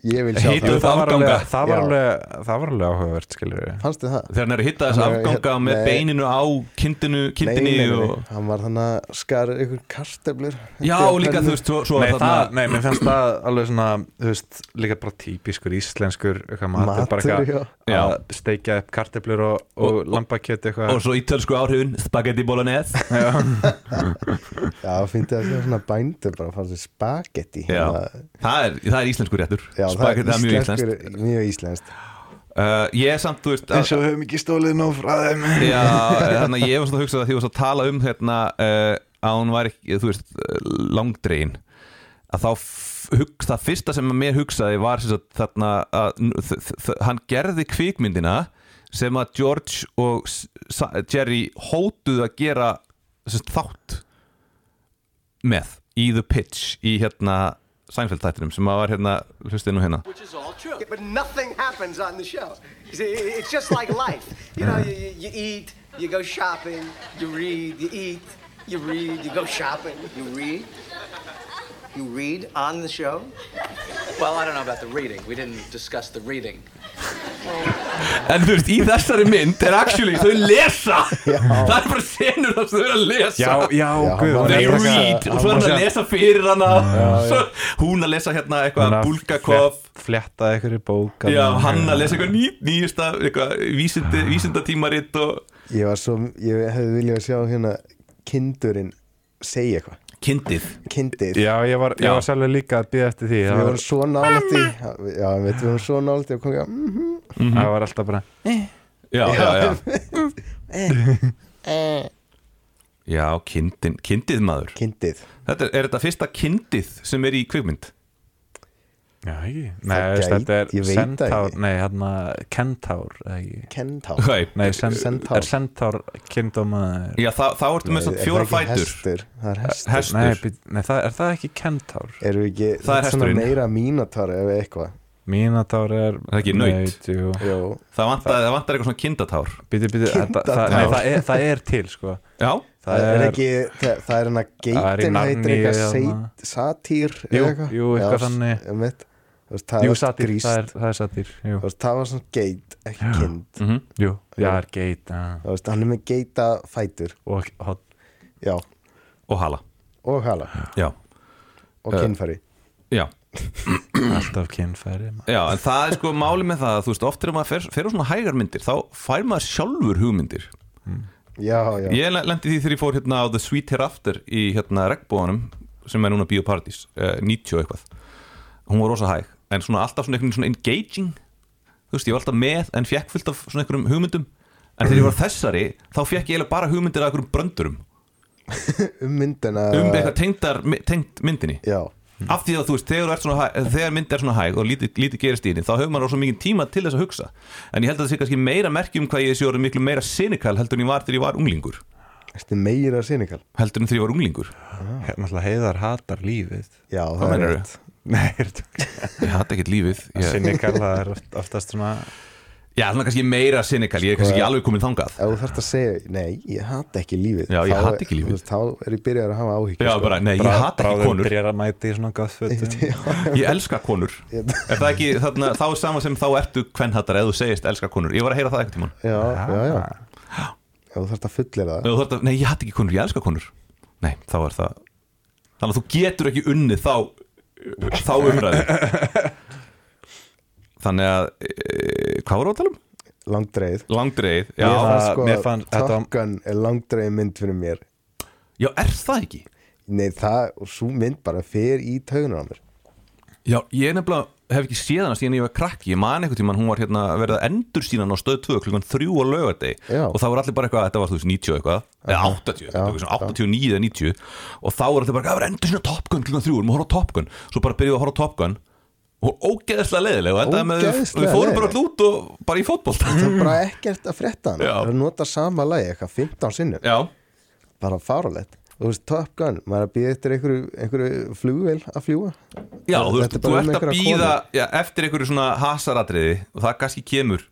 S3: Ég vil sjá
S1: Hitu- Það
S3: það
S4: það var,
S1: afganga.
S4: alveg, það, var
S3: Já.
S4: alveg, það var alveg áhugavert skilur við
S3: Fannst þið það?
S1: þegar hann er að hitta þess
S3: Hann er-
S1: afganga með
S3: nei.
S1: beininu á kindinu, kindinni og...
S3: Hann var þannig að skar ykkur kartöflur
S1: já
S3: Þetta er
S1: og líka
S3: pönnu.
S1: þú veist svo, svo
S4: nei,
S1: að
S4: það,
S1: Sko, þarna
S4: nei, mér fannst það alveg svona þú veist, líka bara típiskur íslenskur eitthvað matur, bara
S3: Matur,
S4: eitthvað
S3: já.
S4: að steikja upp karteblur og, og,
S1: Og- og-
S4: og lambakjöt eitthvað
S1: og svo ítölsku áhrifin, spagetti bolognese
S3: Já, finnst þið að það svona bændur bara fannst þið spagetti
S1: já, það er, það er íslensku réttur
S3: hérna. já
S1: spagetti, það er mjög íslenskt
S3: íslenskur- Mjög íslenskt
S1: uh, ég er samt, þú veist að,
S4: og við höfum ekki stólið nóg frá þeim
S1: já, þannig að eh, ég var svona að hugsa að því varst að tala um hérna, uh, að hún var ekki, þú veist eh, langdregin að þá f- hugsa, það fyrsta sem mér hugsaði var sem sagt, þarna að n- þ- þ- þ- hann gerði kvikmyndina sem að George og S- Sa- Jerry hótuðu að gera sem sagt, þátt með í The Pitch í hérna Seinfeld þættinum sem að var hérna hlustið nú hérna
S5: Which is all true.
S6: Yeah, but nothing happens on the show. You see, i- it's just like life. You know, you, you, you eat, you go shopping, you read, you eat, you read, you go shopping, you read. You read on the show?
S5: Well, I don't know about the reading. We didn't discuss the reading.
S1: En þú veist, í þessari mynd er actually þau lesa Það er bara senur þar sem þau eru að lesa
S4: Já, já,
S3: Já, hann var-
S4: guð, hún
S1: They
S4: er bara-
S1: read og svo er
S4: var
S1: hann að
S4: síðan-
S1: lesa fyrir hana svo, Hún að lesa hérna
S4: hún
S1: eitthvað
S4: að
S1: Bulgakov
S4: flett- Fletta eitthvað í bók
S1: Já, hann að lesa eitthvað ný, nýjasta eitthvað vísindi, vísindatímarit og
S3: Ég var svo, ég hefði viljað sjá hérna kindurinn segja eitthvað
S1: kindið
S3: Kindið
S4: Já, ég var, ég
S1: Já.
S4: var sjálfur líka að býða eftir því
S3: Við
S4: Það var,
S3: vorum svo nálægt í Já, við við vorum svo nálægt í að koma mm,
S1: Mhm.
S4: það var alltaf bara
S1: Já, já, já Já, kindin, kindið maður
S3: Kindið
S1: þetta er, er þetta fyrsta kindið sem er í kvikmynd?
S4: Já, ekki Nei,
S3: Það
S4: veist,
S3: gæti-
S4: þetta er
S3: ég veit það
S4: Centaur
S3: ekki.
S4: Nei, hérna Kentaur eða ekki
S3: Kentá
S1: Hæ,
S4: Nei, sem,
S3: Centaur.
S4: er Centaur kindóma
S1: já, þá, þá ertu með svona fjóra fætur
S3: Hestur, það er hestur
S1: Hestur
S4: Nei, být, nei það, er það ekki Kentaur?
S3: Erum við ekki,
S1: Það er
S3: þetta svona
S1: hesturinn.
S3: meira mínatar eða eitthvað
S4: Mínataur er
S1: það ekki naut?
S4: jú.
S3: Jó,
S1: Það vantar, það vantar eitthvað svona kindatár
S4: Bíddu, bíddu, þetta- það- nei, það er- Það er til, sko
S1: Já,
S3: það er ekki, það, það er hana
S4: Það er í
S3: geitin heitir
S4: Narníu
S3: eitthvað
S4: þarna.
S3: seit- satýr eða
S4: Jú, jú, eitthvað
S3: Já,
S4: þannig.
S3: s- einmitt. Þú veist, það
S4: Jú,
S3: var
S4: satýr,
S3: grískt.
S4: það er, það er satýr Jú,
S3: Þú veist, það var svona geit, ekki kind
S4: jú, já, það er geit já.
S3: Þú veist, hann er með geita fætur
S4: Og hot
S3: Já,
S1: og hala
S3: og hala
S1: Já,
S3: og kinnfæri
S1: já,
S4: Alltaf kynfæri maður.
S1: já en það er sko máli með það að þú veist, oft er maður fer, fer á svona hægar myndir þá fær maður sjálfur hugmyndir
S3: Já, já,
S1: Ég lendi því þegar ég fór hérna á The Sweet Hereafter í hérna regnbóðanum sem er núna Bíóparadís, eh, 90 og eitthvað hún var rosa hæg, en svona alltaf svona einhvern svona engaging þú veist, ég var alltaf með en fekk fullt af svona einhverjum hugmyndum en þegar ég var á þessari, þá fekk ég eiginlega bara hugmyndir af einhverjum bröndurum
S3: um myndina
S1: um eitthvað tengdar, tengt myndinni
S3: Já,
S1: af því að þú veist, þegar, þú ert svona, hæ- þegar mynd er svona hæg og lítið, lítið gerist í henni þá hefur maður á svo mikið tíma til þess að hugsa en ég held að það sé kannski meira merkjum hvað ég sé orðið miklu meira sinikal heldur en ég var þegar ég var unglingur
S3: Þetta er meira sinikal
S1: heldur en þegar ég var unglingur
S4: Náttúrulega Hérna, heiðar hatar lífið
S3: Já, það
S1: Hvað
S3: er
S1: meinarðu?
S3: rétt.
S4: Nei, er þetta
S1: ég hatt ekkert lífið ég,
S4: Sinnikal, það er oft, oftast svona
S1: já, svona kannski meira sinikal, ég er kannski ekki alveg komin þangað
S3: Ef þú þarfst að segja, nei, ég hata ekki lífið
S1: Já, ég
S3: Þá-
S1: hata ekki lífið.
S3: þú veist, Þá er ég byrjar að hafa áhyggjur
S1: já,
S3: sko.
S1: bara, nei, ég
S4: brá-
S1: hatt ekki
S4: bráðum
S1: konur
S4: byrjar að mæti í svona gaffötum
S1: ég elska konur er það ekki, þarna, þá er sama sem þá ertu kvennhattar ef þú segist elska konur, ég var að heyra það ekkert tímann
S3: Já, já, já Ef þú þarfst að fullera
S1: Nei,
S3: það
S1: þú þarft að, nei, ég hatt ekki konur, ég elska konur Nei, þá er það Þannig að þú getur ekki unnið þá Þá umræðu Þannig að e, Hvað var það að tala um?
S3: Langdreið
S1: Langdreið, já,
S4: Ég- það-
S3: sko,
S4: mér fannst- þetta var-
S3: Top Gun er langdreið mynd fyrir mér
S1: já, er það ekki?
S3: Nei, það, og svo mynd bara fer í taugunar á mér
S1: Já, ég nefnilega hef ekki séð hana síðan ég var krakki Ég man einhvern tímann, hún var hérna verið að endur sína á stöð 2 klukkan 3 á laugardegi
S3: Já.
S1: og þá var allir bara eitthvað, þetta var þú veist 90 og eitthvað eða 80, þetta var svona 89 eða 90 og þá var allir bara, það var endur sína Top Gun klukkan 3, við erum að horfa á Top Gun svo bara byrjuðu að horfa á Top Gun og ógeðslega leiðileg og þetta með,
S3: Ógeðslega
S1: við fórum bara
S3: leiðileg.
S1: allir út og bara í fótbolta
S3: Það er bara ekkert að frétta
S1: Mm.
S3: hann
S1: Já.
S3: Það er að nota sama lagi eitthvað 15 sinnum
S1: Já,
S3: Bara farulegt Þú veist, Top Gun, maður er að býða eftir einhverju, einhverju flugvél að fljúa
S1: já, þú veist,
S3: Þetta er
S1: þú
S3: bara um
S1: ert að
S3: einhverja
S1: býða já, eftir einhverju svona hasaratriði og það kannski kemur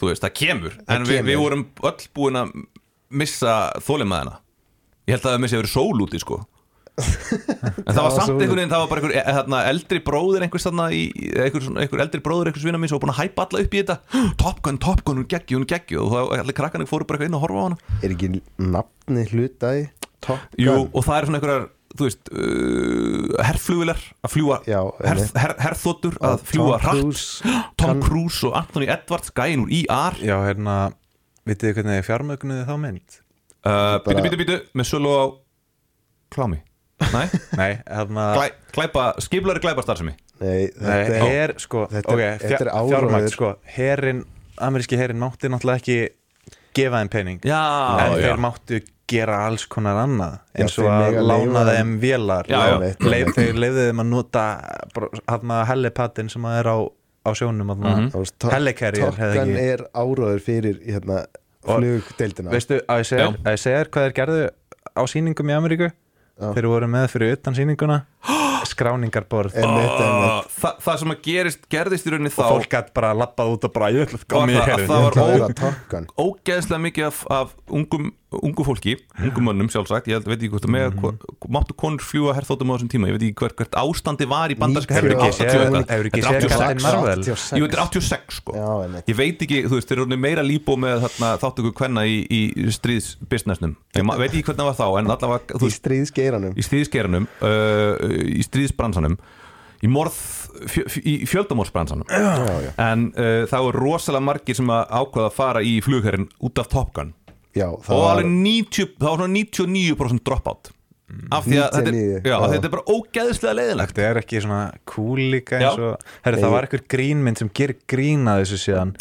S1: þú veist, það kemur, en við,
S3: kemur.
S1: við vorum öll búin að missa þólimaðina ég held að það missi að vera sól úti
S3: [laughs]
S1: sko en það var
S3: var
S1: samt
S3: sól
S1: einhvern veginn, það var bara einhver e- þarna, eldri bróðir einhvers þarna í, í- einhver, svona- einhver eldri bróðir einhvers vinnar mín sem var búin að hæpa alla upp í þetta [gasps] Top Gun, Top Gun, hún geggju, hún geggju og það, allir krakkanir fóru bara eitthvað inn að horfa á hana
S3: Er ekki nafni hlutaði Top Gun?
S1: Jú, og það er svona einhverjar þú veist, uh, herrflugilar að fljúa,
S3: Já,
S1: herr,
S3: einmitt.
S1: herr, herrþotur að
S3: Tom
S1: fljúa hratt
S3: Cruise,
S1: [gasps] Tom
S3: Tom-
S1: Cruise og Anthony Edwards gæin úr E IR
S4: Já, hérna, vitið þið hvernig þið fjármögnuði þá mynd?
S1: uh,
S3: Bara-
S1: bítu, bítu, bítu, með sölu á klámi,
S3: [laughs]
S1: nei
S4: Nei, hérna
S1: Glæ, glæpa, skiplari glæpastarsemi
S3: Nei,
S4: Nei,
S3: þetta er
S4: her, sko,
S3: þetta
S4: ok,
S3: er- þetta er
S4: fjár-
S3: áróður.
S4: fjármagn, sko Herin, ameríski herin mátti náttúrulega ekki gefa þeim pening
S1: Já,
S4: En
S1: já.
S4: þeir máttu gera alls konar annað eins
S3: þeir
S4: og að
S3: mega
S4: lána
S3: leyfa
S4: þeim vélar
S1: Já, já.
S4: Leif- leif- Þeir leifðu þeim að nota hann að hellipatin sem að er á, á sjónum mm
S1: Mhm.
S3: Þú veist,
S4: -hmm.
S3: Top-
S4: Hellikerjir
S3: Top Gun er áróður fyrir hérna, flugdeildina
S4: Veistu, að ég segja,
S1: Já.
S4: að ég segja þér hvað þeir gerðu á sýningum í Ameríku Þeir voru með fyrir utan sýninguna [gasps] Skráningarborð
S3: Einmitt, einmitt.
S1: uh, þa, það sem að gerist, gerðist í rauninni þá
S4: Fólk gætt bara labbað út og bara Ég ætla að
S1: Var
S4: koma í
S1: það-
S4: herin
S1: það var
S3: Það
S1: ó-
S3: er að Top Gun
S1: ógeðslega mikið af, af ungum, ungu fólki, ungum mönnum sjálfsagt ég held, veit ekki hvort að mega, máttu konur fljúa herþóttum á þessum tíma, ég veit ekki hvert, hvert ástandi var í bandarska
S3: Hefur
S1: herri
S3: ekki séð-
S4: hefur ekki séð Captain Marvel?
S1: Jú, þetta er 86 sko
S3: Já, einmitt.
S1: Ég veit ekki, þú veist, þeir eru orðnir meira líbó með þarna, þáttöku kvenna í, í stríðsbusinessnum Ég ma- veit ekki hvernig það var þá, en allavega þú
S3: Í
S1: veist,
S3: stríðsgeiranum
S1: í stríðsgeranum uh, í stríðsbransanum í morð, fjö, fjö- í fjöldamórsbransanum en uh, það voru rosalega margir sem að ákvaða að fara í flugherrin út af Top Gun
S3: Já,
S1: og
S3: það var
S1: alveg 90, það var svona 99% dropout
S3: Mm.
S1: af því að þetta er,
S3: 99,
S1: já, af því að
S3: já.
S1: þetta er bara ógeðslega leiðilegt
S4: Þetta er ekki svona cool líka
S1: Já.
S4: eins og Herri, það var einhver grínmynd sem ger grín að þessu síðan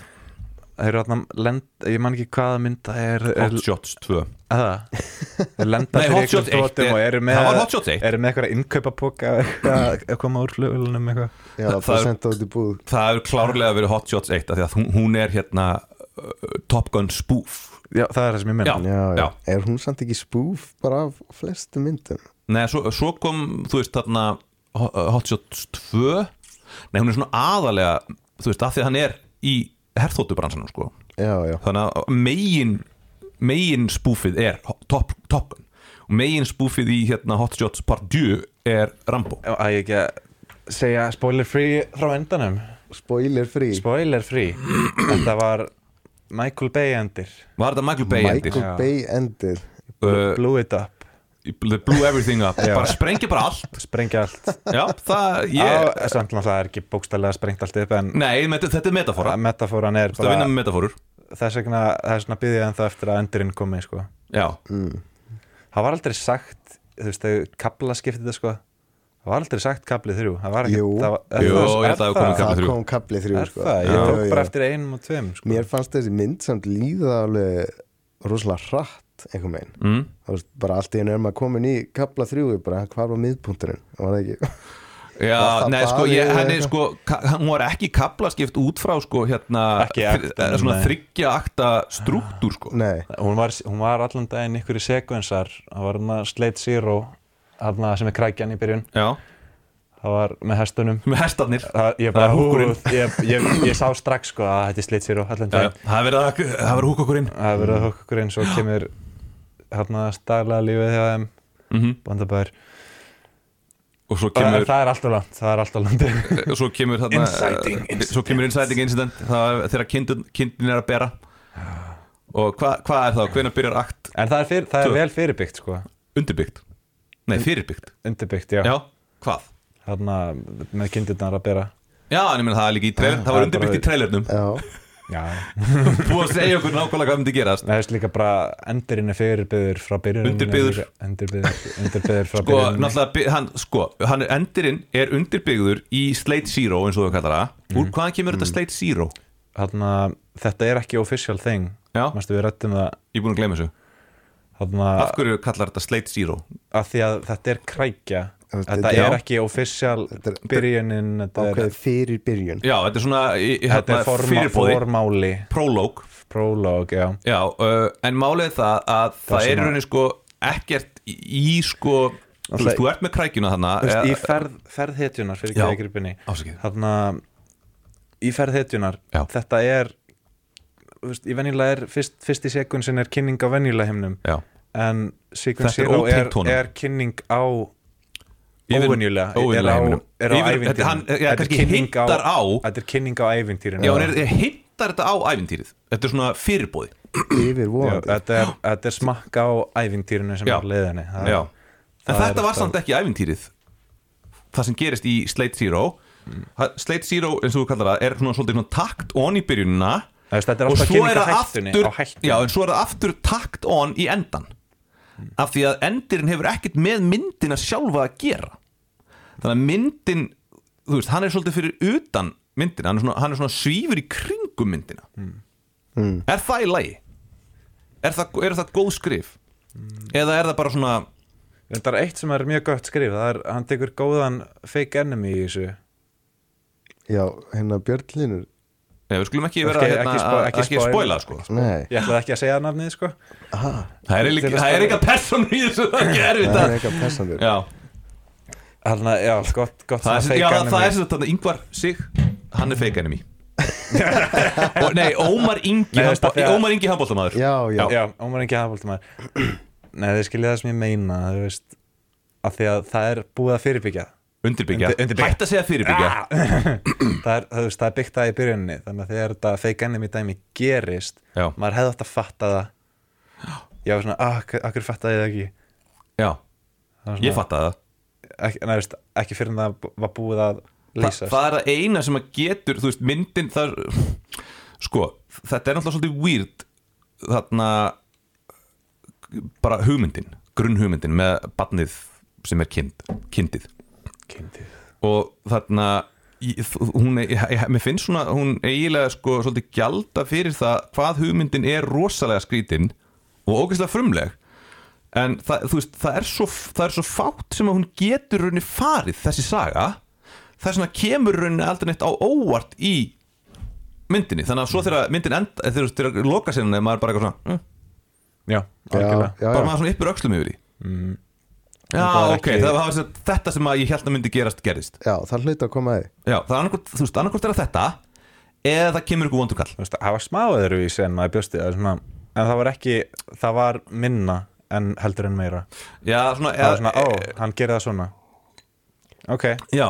S4: Þeir eru þarna lend, ég man ekki hvaða mynd það er, er
S1: Hot Shots 2
S4: að það? Þeir lenda
S1: Nei,
S4: fyrir
S1: Hot Shots 1 er-
S4: einhverjum þróttum og eru með
S1: það var Hot Shots 1.
S4: Eru með eitthvað innkaupapoka eitthvað að koma úr flugulunum eitthvað
S3: Já,
S1: það- það
S3: það
S1: er-
S3: senda út í búð
S1: það hefur klárlega verið Hot Shots 1 af því að hún, hún er hérna uh, Top Gun spoof
S4: Já, það er það sem ég minna
S3: Já, já,
S1: Já.
S3: er hún samt ekki spoof bara af flestu myndum
S1: Nei, svo, svo kom, þú veist, þarna Ho- eh, Hot Shots 2 Nei, hún er svona aðalega þú veist, af því að hann er í herþóttubransanum sko.
S3: Já, já,
S1: þannig að eh, megin megin spúfið er Ho- Top, top Gun og megin spúfið í hérna, Hot Shots Part 2 er Rambo
S4: Að ég ekki að segja spoiler free frá endanum
S3: spoiler free
S4: Spoiler free Þetta var Michael Bay endir
S1: Var þetta Michael Bay endir?
S3: Michael Bay endir
S1: Uh,
S4: Blew it up
S1: they blew everything up bara sprengi bara allt
S4: Sprengja allt
S1: Já, það, ég,
S4: yeah. Samt náttúrulega það er ekki bókstælega sprengt allt upp en
S1: Nei, met- þetta er metafora
S4: að metafóran er
S1: Það vinna
S4: bara
S1: með metafórur
S4: þess vegna þess vegna byggði ég ennþá eftir að endurinn komi sko.
S1: Já,
S4: það var aldrei sagt þú veist þau kabla skiptið það sko það var aldrei sagt kablið þrjú það var ekki
S3: Jú.
S4: það var, er
S1: Jú, ég
S4: það- er
S1: held að það hafi komið
S4: það,
S1: kafli
S3: Það
S1: þrjú.
S3: kom kaplið þrjú
S4: er
S3: sko.
S4: það, ég
S3: Já,
S4: tók
S3: já,
S4: bara
S3: já.
S4: eftir einum og tveim sko.
S3: Mér fannst þessi mynd samt líða alveg rosalega hratt allt einhvern veginn mm. veist, bara allt í einu er maður komin í kapla þrjúi bara hvað var miðpunkturinn var það ekki [laughs]
S1: Já,
S3: það
S1: nei, sko,
S3: bara
S1: ég,
S3: við-
S1: henni, sko, ka- hún var ekki kaplaskipt út frá, sko, hérna,
S4: Ekki
S1: þri-
S4: aktanum,
S1: svona
S4: nei.
S1: þryggja akta struktúr, sko.
S3: nei
S4: hún var, hún var allan daginn ykkur í sekvensar það var hann að Slate Zero hann sem er krækjan í byrjun
S1: Já,
S4: það var með hestunum
S1: með hestarnir.
S4: það, ég,
S1: Það
S4: bara,
S1: er
S4: hú,
S1: húkurinn.
S4: ég, ég, ég sá strax sko að þetta er Slate Zero allan
S1: Já, já,
S4: daginn
S1: það er verið að, það verið húkokurinn.
S4: það hefur verið að hokka okkur eins og kemur hann að stagla lífið hjá þeim mm -hmm. bandabæður
S1: Og svo
S4: Kemur...
S1: kemur,
S4: Það er alltaf langt, það er alltaf
S1: [laughs]
S4: langt
S1: svo kemur, þarna,
S4: Inciting
S1: eh, svo kemur inciting incident, það er þegar kindin, kindin er að bera. Og hvað hva er það, hvenær byrjar akt
S4: En það er, fyr, það er
S1: Tvö.
S4: vel fyrirbyggt sko
S1: undirbyggt? Nei, fyrirbyggt.
S4: Undirbyggt, já,
S1: Já, hvað?
S4: Þarna með kindurnar að bera
S1: Já, en ég menn það er líka í trailer, það
S4: Eh, það
S1: var
S4: er
S1: undirbyggt í
S4: bara-
S1: trailernum.
S3: já,
S4: Já
S1: Búið að segja okkur nákvæmlega hvað myndi gerast.
S4: Það er líka bara endurinn er fyrirbyggður frá byrjunum
S1: Undirbyggður.
S4: Undirbyggður frá
S1: Sko,
S4: byrjunum
S1: náttúrulega, by- hann, sko, hann er endurinn er undirbyggður í Slate Zero eins og þú kallar það Úr hvaðan kemur þetta Slate Zero?
S4: Þarna, Hérna, þetta er ekki official thing
S1: Já.
S4: Manstu, við rættum það
S1: Ég er búin að gleyma þessu
S4: Þarna,
S1: Af hverju kallar þetta Slate Zero?
S4: að því að þetta er krækja
S3: Þetta-
S4: Þetta
S3: já.
S4: er ekki official
S3: Þetta er-
S4: byrjunin Þetta er,
S3: ákveðið fyrir byrjun
S1: Já, þetta er svona í- í-
S4: þetta
S1: hérna,
S4: er forma,
S1: fyrirbóði
S4: formáli
S1: Prolog
S4: Prolog, já
S1: Já, uh, en málið er það að það
S4: sem
S1: er í
S4: að-
S1: rauninni sko ekkert í, í sko Þú
S4: Náttúrulega-
S1: veist, þú ert með krækjuna þarna
S4: Þú veist,
S1: eh,
S4: í ferð, ferðhetjunar fyrir
S1: Já.
S4: ekki gripinni
S1: Afsakið.
S4: þarna í ferðhetjunar
S1: Já.
S4: þetta er þú veist, í venjulega er fyrst, fyrst í sekund sem er kynning á venjulega himnum
S1: Já,
S4: en sekund
S1: Þetta er
S4: zero er,
S1: ótengt honum.
S4: er kynning á
S1: Yfir-
S4: óvenjulega er
S1: óvenjulega
S4: á,
S1: heiminum.
S4: er á
S1: Yfir-
S4: ævintýrinu
S1: þetta- hann- já,
S4: er
S1: kannski
S4: kynning
S1: hittar á.
S4: þetta er kynning á ævintýrinu
S1: já hann er hittar þetta á ævintýrið Þetta er svona fyrirbóði
S3: yfir
S4: Já,
S3: vonandi
S4: þetta er, þetta er smakka á ævintýrinu sem
S1: Já.
S4: er á leiðinni Það-
S1: Já En
S4: það
S1: þetta
S4: er-
S1: var samt ekki ævintýrið Það sem gerist í Slate Zero
S4: Mm.
S1: Það- Slate Zero, eins og þú kallar það, er svona svolítið svona takt on í byrjunina
S4: Þú veist, þetta er
S1: og
S4: alltaf
S1: svo er
S4: kynning á
S1: það
S4: hættunni,
S1: aftur
S4: á hættunni.
S1: Já, en svo er það aftur takt on í endan
S4: Hmm.
S1: Af því að endirinn hefur ekkert með myndina sjálfa að gera Þannig að myndin, þú veist, hann er svolítið fyrir utan myndina Hann er svona, hann er svona svífur í kringum myndina
S4: Hmm.
S3: Hmm.
S1: Er það í lagi? Er það, er það góð skrif?
S4: Hmm.
S1: Eða er það bara svona
S4: Þetta er eitt sem er mjög gott skrif það er, hann tekur góðan fake enemy í þessu
S3: já, hérna björnlinur
S1: Nei, við skulum ekki vera
S4: Ekki-
S1: hérna,
S4: ekki spo- ekki
S1: að- ekki spoila
S4: spoila,
S1: sko.
S3: nei,
S4: Ég ætlaði ekki að segja nafnið sko
S1: Það er líka- það er eitthvað persónu í þessu það er ekki erfitt
S3: það
S1: að
S3: er eitthvað pessandur
S1: Já,
S4: Þannig að, já, gott, gott
S1: það er
S4: svona
S1: já,
S4: fake enemy
S1: það er sem þetta yngvar sig hann er fake
S4: [laughs]
S1: enemy og, Nei, Ómar Ingi
S4: Nei, veist
S1: handbol-
S4: það þegar-
S1: Ómar Ingi handbóltamaður
S3: já, já,
S4: Já, Ómar Ingi Hafaldumar [clears throat] Nei, þið skiljið það sem ég meina þú veist, að því að það er búið að fyrirbyggja
S1: Undirbyggja,
S4: Undir- undirbyggja. Ah.
S1: hætt að segja fyrirbyggja
S4: það er, það, veist, það er byggt það í byrjunni þannig að þegar þetta fake enemy dæmi gerist
S1: Já.
S4: maður hefði átt að fatta það Já, svona, ah, hver- af hverju fattaði ég það ekki
S1: Já,
S4: það var
S1: ég
S4: svona,
S1: fatt að það
S4: ekki, nei, veist, ekki fyrir en það var búið að
S1: Þa,
S4: lýsa
S1: það er að eina sem að getur þú veist, myndin þar sko, þetta er náttúrulega svolítið weird þarna bara hugmyndin, grunnhugmyndin með barnið sem er kind, kindið
S4: Kyndið
S1: og þarna ég- hún, ég, ég, mér finnst svona hún eiginlega sko svolítið gjalda fyrir það hvað hugmyndin er rosalega skrítin og ógeðslega frumleg en það, þú veist, það er svo það er svo fátt sem að hún getur rauninni farið þessi saga það er svona kemur rauninni aldrei neitt á óvart í myndinni þannig að svo þegar myndin enda þegar þú veist, þegar loka sinna er maður bara eitthvað svona mm,
S4: Já, algjörlega
S3: já,
S1: bara
S3: já,
S1: maður svona yppur öxlum yfir því já
S4: Það er
S1: ok,
S4: ekki-
S1: það var sem sagt þetta sem að ég held að myndi gerast gerist
S3: já, það hlaut að koma að því
S1: Já, það er annarkvort, þú veist, annarkvort er það þetta eða það kemur ykkur vondurkall
S4: þú veist, það var smá öðruvísi en maður bjósti það er svona, en það var ekki, það var minna en heldur en meira
S1: Já, e- svona,
S4: það var svona, ó, hann gerir það svona ok,
S1: Já,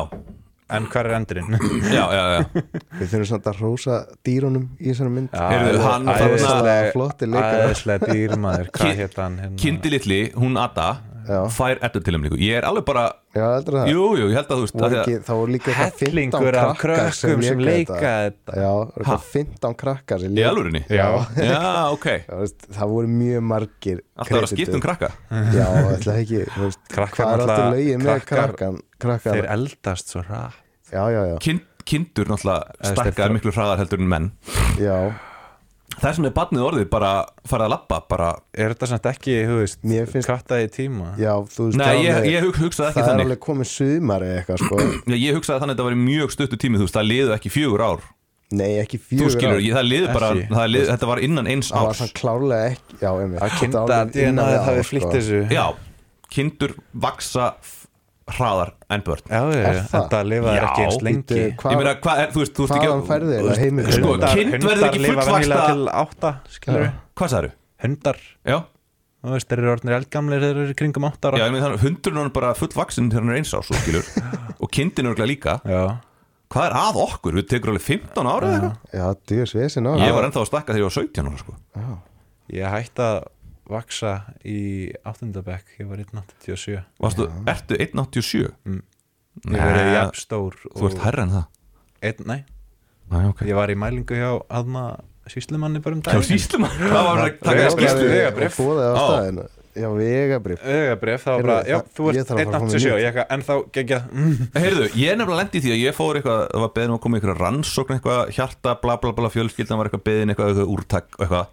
S4: en hver er
S3: [laughs]
S4: endurinn?
S1: já, já, já
S3: við þurfum samt að rósa dýrunum í þessari mynd
S1: Heyrðu, hann þarna
S3: Æðislega flottir leikarar.
S4: æðislega dýrmaður,
S1: Ki-
S4: hvað hétt hann hérna?
S1: Kindi litli, hún Ada
S3: Já.
S1: fær eddu til um líku Ég er alveg bara,
S3: já, heldur það
S1: jú, jú, ég held að þú veist
S3: Voru
S1: að
S3: ekki, þá voru líka eitthvað 15
S4: Hellingur af
S3: krakkar sem
S4: krökkum sem
S3: léku
S4: leika þetta.
S3: þetta Já, voru eitthvað 15 krakkar sem
S1: Í
S3: leika
S1: alvörinni?
S4: já,
S1: Já, ok
S3: [laughs] Já, veist, Það voru mjög margir
S1: Alltaf er að skipta um
S3: kreditið.
S1: krakka
S3: Já, ætla ekki
S1: [laughs]
S3: þú veist,
S4: Krakkar
S3: Hvað er
S4: náttúrulega-
S3: alltaf lögið með
S4: krakkar-
S3: krakkan, krakkar
S4: þeir eldast svo rætt
S3: Já, já, já,
S1: Kind, Kindur náttúrulega
S4: veist,
S1: stækkar
S4: þeir-
S1: miklu hraðar heldur en menn
S3: já
S1: Þess vegna er barnið orðið bara farið að labba bara
S4: er þetta samt ekki, þú veist,
S3: Mér finnst-
S4: katta í tíma
S3: Já, þú veist
S1: Nei,
S3: það
S1: ég,
S3: alveg-
S1: ég hug, hugsaði ekki
S3: Það er
S1: þannig
S3: alveg komið sumar eða eitthvað sko
S1: Já, Ég hugsaði þannig að þetta var mjög stuttu tími Þú veist, það liðu ekki fjögur ár
S3: Nei, ekki
S1: Þú
S3: fjögur
S1: skilur, ég, það liðu bara
S4: Ekki.
S1: það lið, Þetta var innan eins
S3: Það var
S1: árs
S3: svona klárlega ekki Já, einmitt
S4: að
S3: Þetta
S4: kynda
S3: var alveg
S4: að DNA
S3: innan við
S4: hafi
S3: ár,
S4: flýtt
S3: sko.
S4: þessu
S1: Já, kindur vaksa f- hraðar en börn
S4: já, já,
S3: Er
S4: já,
S3: það?
S4: þetta lifaði
S1: Já.
S4: ekki eins lengi
S3: Bíddu, hvað-
S1: Ég meina, hvað er, þú veist, þú veist ekki
S3: Hvaðan færðu þeir
S1: þú veist,
S3: heimildina?
S1: Sko,
S3: Hundar-
S1: kind verður ekki
S4: lifa venjulega
S1: fullvaksta
S4: til átta, skilur
S3: Já.
S1: Hvað sagður?
S4: hundar,
S1: Já,
S4: þú veist, þeir eru orðnir eldgamlir þeir eru kringum átta
S1: já
S4: ára
S1: ég meina, þannig, hundurinn er bara fullvaksin þegar hann er eins árs, þú skilur
S3: [laughs]
S1: Og kindin er líka
S4: já,
S1: Hvað er að okkur? Við tekur alveg 15 ára eða eitthvað
S3: Já, djöðs vesen á
S1: Ég var ennþá að stakka þegar ég var 17 ára, sko
S4: ég hætti að vaksa í áttundabekk, ég var 187
S1: Varstu, ertu 187?
S4: ég verið
S1: Nei.
S4: jafn stór
S1: Þú ert herra en það
S4: einn, nei,
S1: Næ, ok
S4: ég var í mælingu hjá aðna síslumanni bara um
S1: Hjá
S4: daginn
S1: síslumann Það var að taka
S4: Vegabrif.
S1: skýrslu
S4: vegabrif.
S3: Og bóðið á
S1: Á.
S3: staðinu Já, vegabrif
S4: augabrif, það var
S3: Heyrðu,
S4: bara, já,
S3: það-
S4: þú
S3: ég
S4: ert
S3: þarf að fara að koma með
S4: 187
S3: nýtt.
S4: ég eitthvað, en þá gengja mm,
S1: Heyrðu, ég er nefnilega lendi því að ég fór eitthvað Það var beðin um að koma í eitthvað rannsókn eitthvað Hjarta, bla bla bla, fjölskyldan var eitthvað beðin eitthvað, eitthvað úrtak og eitthvað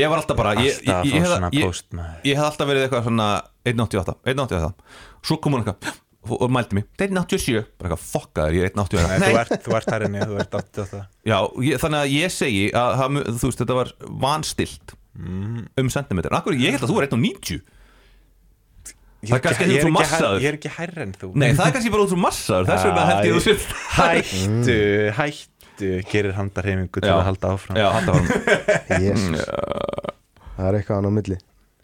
S1: Ég var alltaf bara Ég, ég,
S4: Alltaf
S1: ég, ég,
S4: að fá
S1: hefði-
S4: svona
S1: ég,
S4: post, maður.
S1: ég hef alltaf verið eitthvað svona 188, 188 Svo kom hún eitthvað og- og mældi mig, 187 bara eitthvað fokkaður, ég er 188
S4: [laughs] nei, þú ert, þú ert herrin, já, þú ert 88
S1: Já, ég, þannig að ég segi að það mu- þú veist, þetta var vanstilt um sentimetr, akkur ég held að þú er 190 Það er kannski að þú ert svo massaður
S4: Ég er ekki hærri en þú
S1: Nei, það er kannski bara út úr massaður Þess vegna held ég að þú sér
S4: Hættu, hættu Gerir handarhefingu til
S1: Já.
S4: að halda áfram
S1: Já, þetta var
S4: [laughs]
S3: Jesus Það er eitthvað annað á milli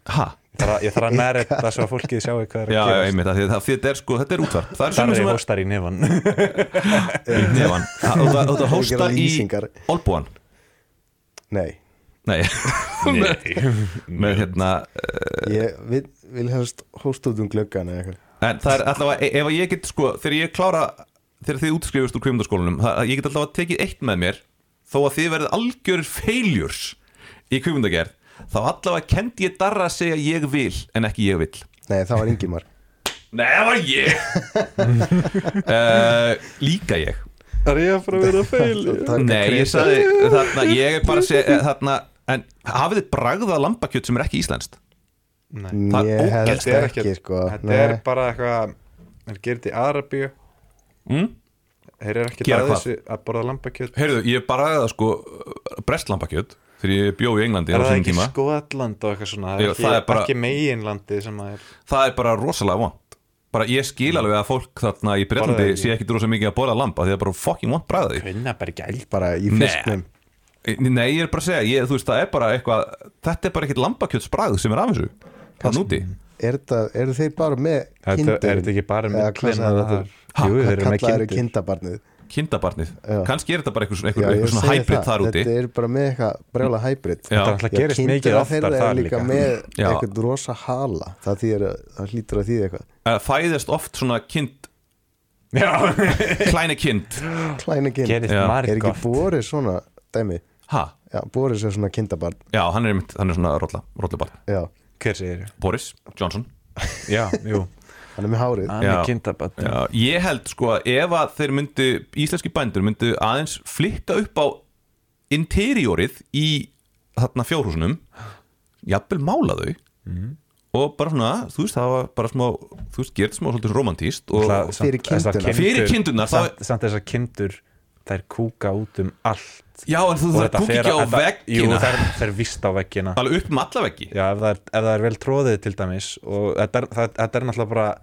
S1: Hæ?
S4: Ég þarf að- Ég þarf að næra þetta svo að fólkið sjáu hvað er
S1: Já,
S4: að
S1: já,
S4: gerast
S1: einmitt, af því að það, þetta er sko, þetta er útvarp Það er svona
S4: Darri
S1: sem
S4: hóstar í [laughs] nefan
S1: að í nefann Það- Þú þú- þú hósta
S3: Einhverjar
S1: í
S3: lýsingar.
S1: olbúan
S3: Nei,
S1: Nei [laughs] Með hérna eh,
S3: ég vil, vil helst hóst út um glöggan eða eitthvað
S1: En það er allavega, e- ef að ég get sko Þegar ég klára, þegar þið útskrifist úr kvikmyndaskólanum það- að Ég get allavega tekið eitt með mér Þó að þið verðið algjör feiljurs Í kvikmyndagerð Þá allavega kendi ég darra að segja ég vil En ekki ég vill
S3: Nei, það var Ingimar
S1: Nei, það var ég [laughs] uh, Líka ég
S4: Það er ég að fara að vera feil
S3: Takk
S1: Nei, ég sagði þarna, ég er bara að segja eh, þarna, en hafið þið bragðað lambakjöt sem er ekki íslenskt? það er
S3: Ég
S1: ógeðslega
S3: helst ekki sko
S4: Þetta er bara eitthvað Það gerir þetta í Arabíu
S1: Mm?
S4: Þeir eru ekki
S1: Gera
S4: að
S1: hvað?
S4: þessu að borða lambakjöt
S1: Heyrðu, ég bragðað sko brestlambakjöt þegar ég bjó í Englandi
S4: Er
S1: á
S4: það
S1: sínum
S4: ekki
S1: tíma.
S4: Skotland og eitthvað svona
S1: Jú, það
S4: Það
S1: er
S4: er ekki,
S1: bara-
S4: ekki meginlandi sem að er
S1: Það er bara rosalega vant. Bara ég skil
S3: Mm.
S1: alveg að fólk þarna í
S4: Borðaði
S1: Bretlandi
S4: ekki.
S1: sé ekki rosalega mikið að borða lamb af því það er bara fucking vant bragðið.
S4: Kvinnabergi eld
S3: bara í
S1: Nei.
S3: fisknum
S1: Nei, ég er bara að segja, ég, þú veist, það er bara eitthvað, þetta er bara ekkit lambakjötsbragð sem er af þessu. Það núti.
S3: Er þetta- Eru þeir bara með
S4: Þetta
S3: kindin?
S4: er þetta ekki bara
S3: Eða hvað
S4: myndin
S3: sagði
S4: að
S3: þetta?
S4: það Jú, þeir eru
S3: Hvað
S4: með
S3: kallaður
S4: kindur
S3: kindabarnið?
S1: Kindabarnið.
S3: Já.
S1: Kannski er þetta bara eitthvað svona,
S3: Já,
S1: eitthvað,
S3: ég
S1: eitthvað svona
S3: segi
S1: hybrid
S3: það.
S1: þar úti.
S3: Þetta er bara með eitthvað brjála hybrid
S1: Já.
S4: Þetta er alltaf
S3: Já,
S4: gerist
S3: kindur
S4: mikið
S3: að þeirra
S4: oftar
S3: er
S4: þar
S3: líka
S4: líka
S3: með
S1: Já.
S3: eitthvað rosa hala það, þýðir að, það hlýtur að því eitthvað
S1: Eh, Fæðist oft svona
S3: [laughs]
S1: kind,
S4: [laughs] Já,
S1: kleine kind.
S3: klæna kind,
S4: gerist
S1: Já.
S3: er
S4: marg
S3: ekki Boris svona dæmi,
S1: Hæ?
S3: já, Boris er svona kindabarn
S1: Já, hann er, einmitt, hann er svona rolla, rollabarn
S3: já,
S4: Hver segir ég?
S1: Boris Johnson
S4: Já, jú
S3: hann er með hárið
S1: Já.
S4: er kindabatt
S1: Já, Ég held sko að ef að þeir myndu íslenski bændur myndu aðeins flikka upp á interiorið í þarna fjórhúsunum jafnvel mála þau
S4: Mhm.
S1: og bara svona, þú veist, það var bara smá þú veist, gerð smá svolítið romantíst og
S3: fyrir kindurnar.
S1: Fyrir kindurnar, þá-
S4: Samt, samt þessar kindur, þær kúka út um allt
S1: já, en þú
S4: Og
S1: þarf
S4: þetta
S1: kúkja
S4: fer
S1: ekki á
S4: að- þetta- Jú,
S1: veggina
S4: þær, þær vist á veggina
S1: alveg upp um alla veggi
S4: Já, ef það er, ef það er vel tróðið til dæmis og þetta er, það, þetta er náttúrulega bara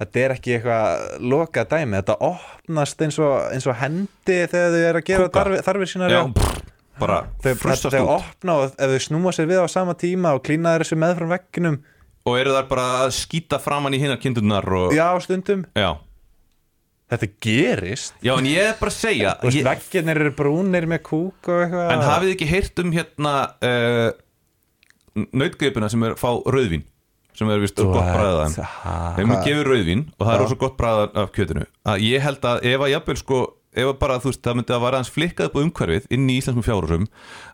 S4: þetta er ekki eitthvað lokað dæmi, þetta opnast eins og, eins og hendi þegar þau eru að gera
S1: Kúka.
S4: þarfir, þarfir sínar
S1: já,
S4: já.
S1: pff, bara
S4: þau,
S1: frustast
S4: þau
S1: út
S4: opna og ef þau snúa sér við á sama tíma og klína þeir þessu meðfram vegginum
S1: og eru þar bara að skýta framann í hinnar kindurnar og,
S4: já, stundum,
S1: já.
S4: þetta gerist
S1: já, en ég er bara að segja
S4: Þú
S1: ég,
S4: veist, vegginir eru brúnir með kúk og eitthvað
S1: En hafið þið ekki heyrt um hérna uh, nautgripina sem er fá rauðvín sem er vist svo gott bræðaðan
S4: Ha?
S1: Þegar maður gefur rauðvín og það er svo gott bræðað af kjötinu að ég held að ef að jafnvel sko ef að bara, þú veist, það myndi að vara aðeins flikkað upp á umhverfið inn í íslenskum fjárhúsum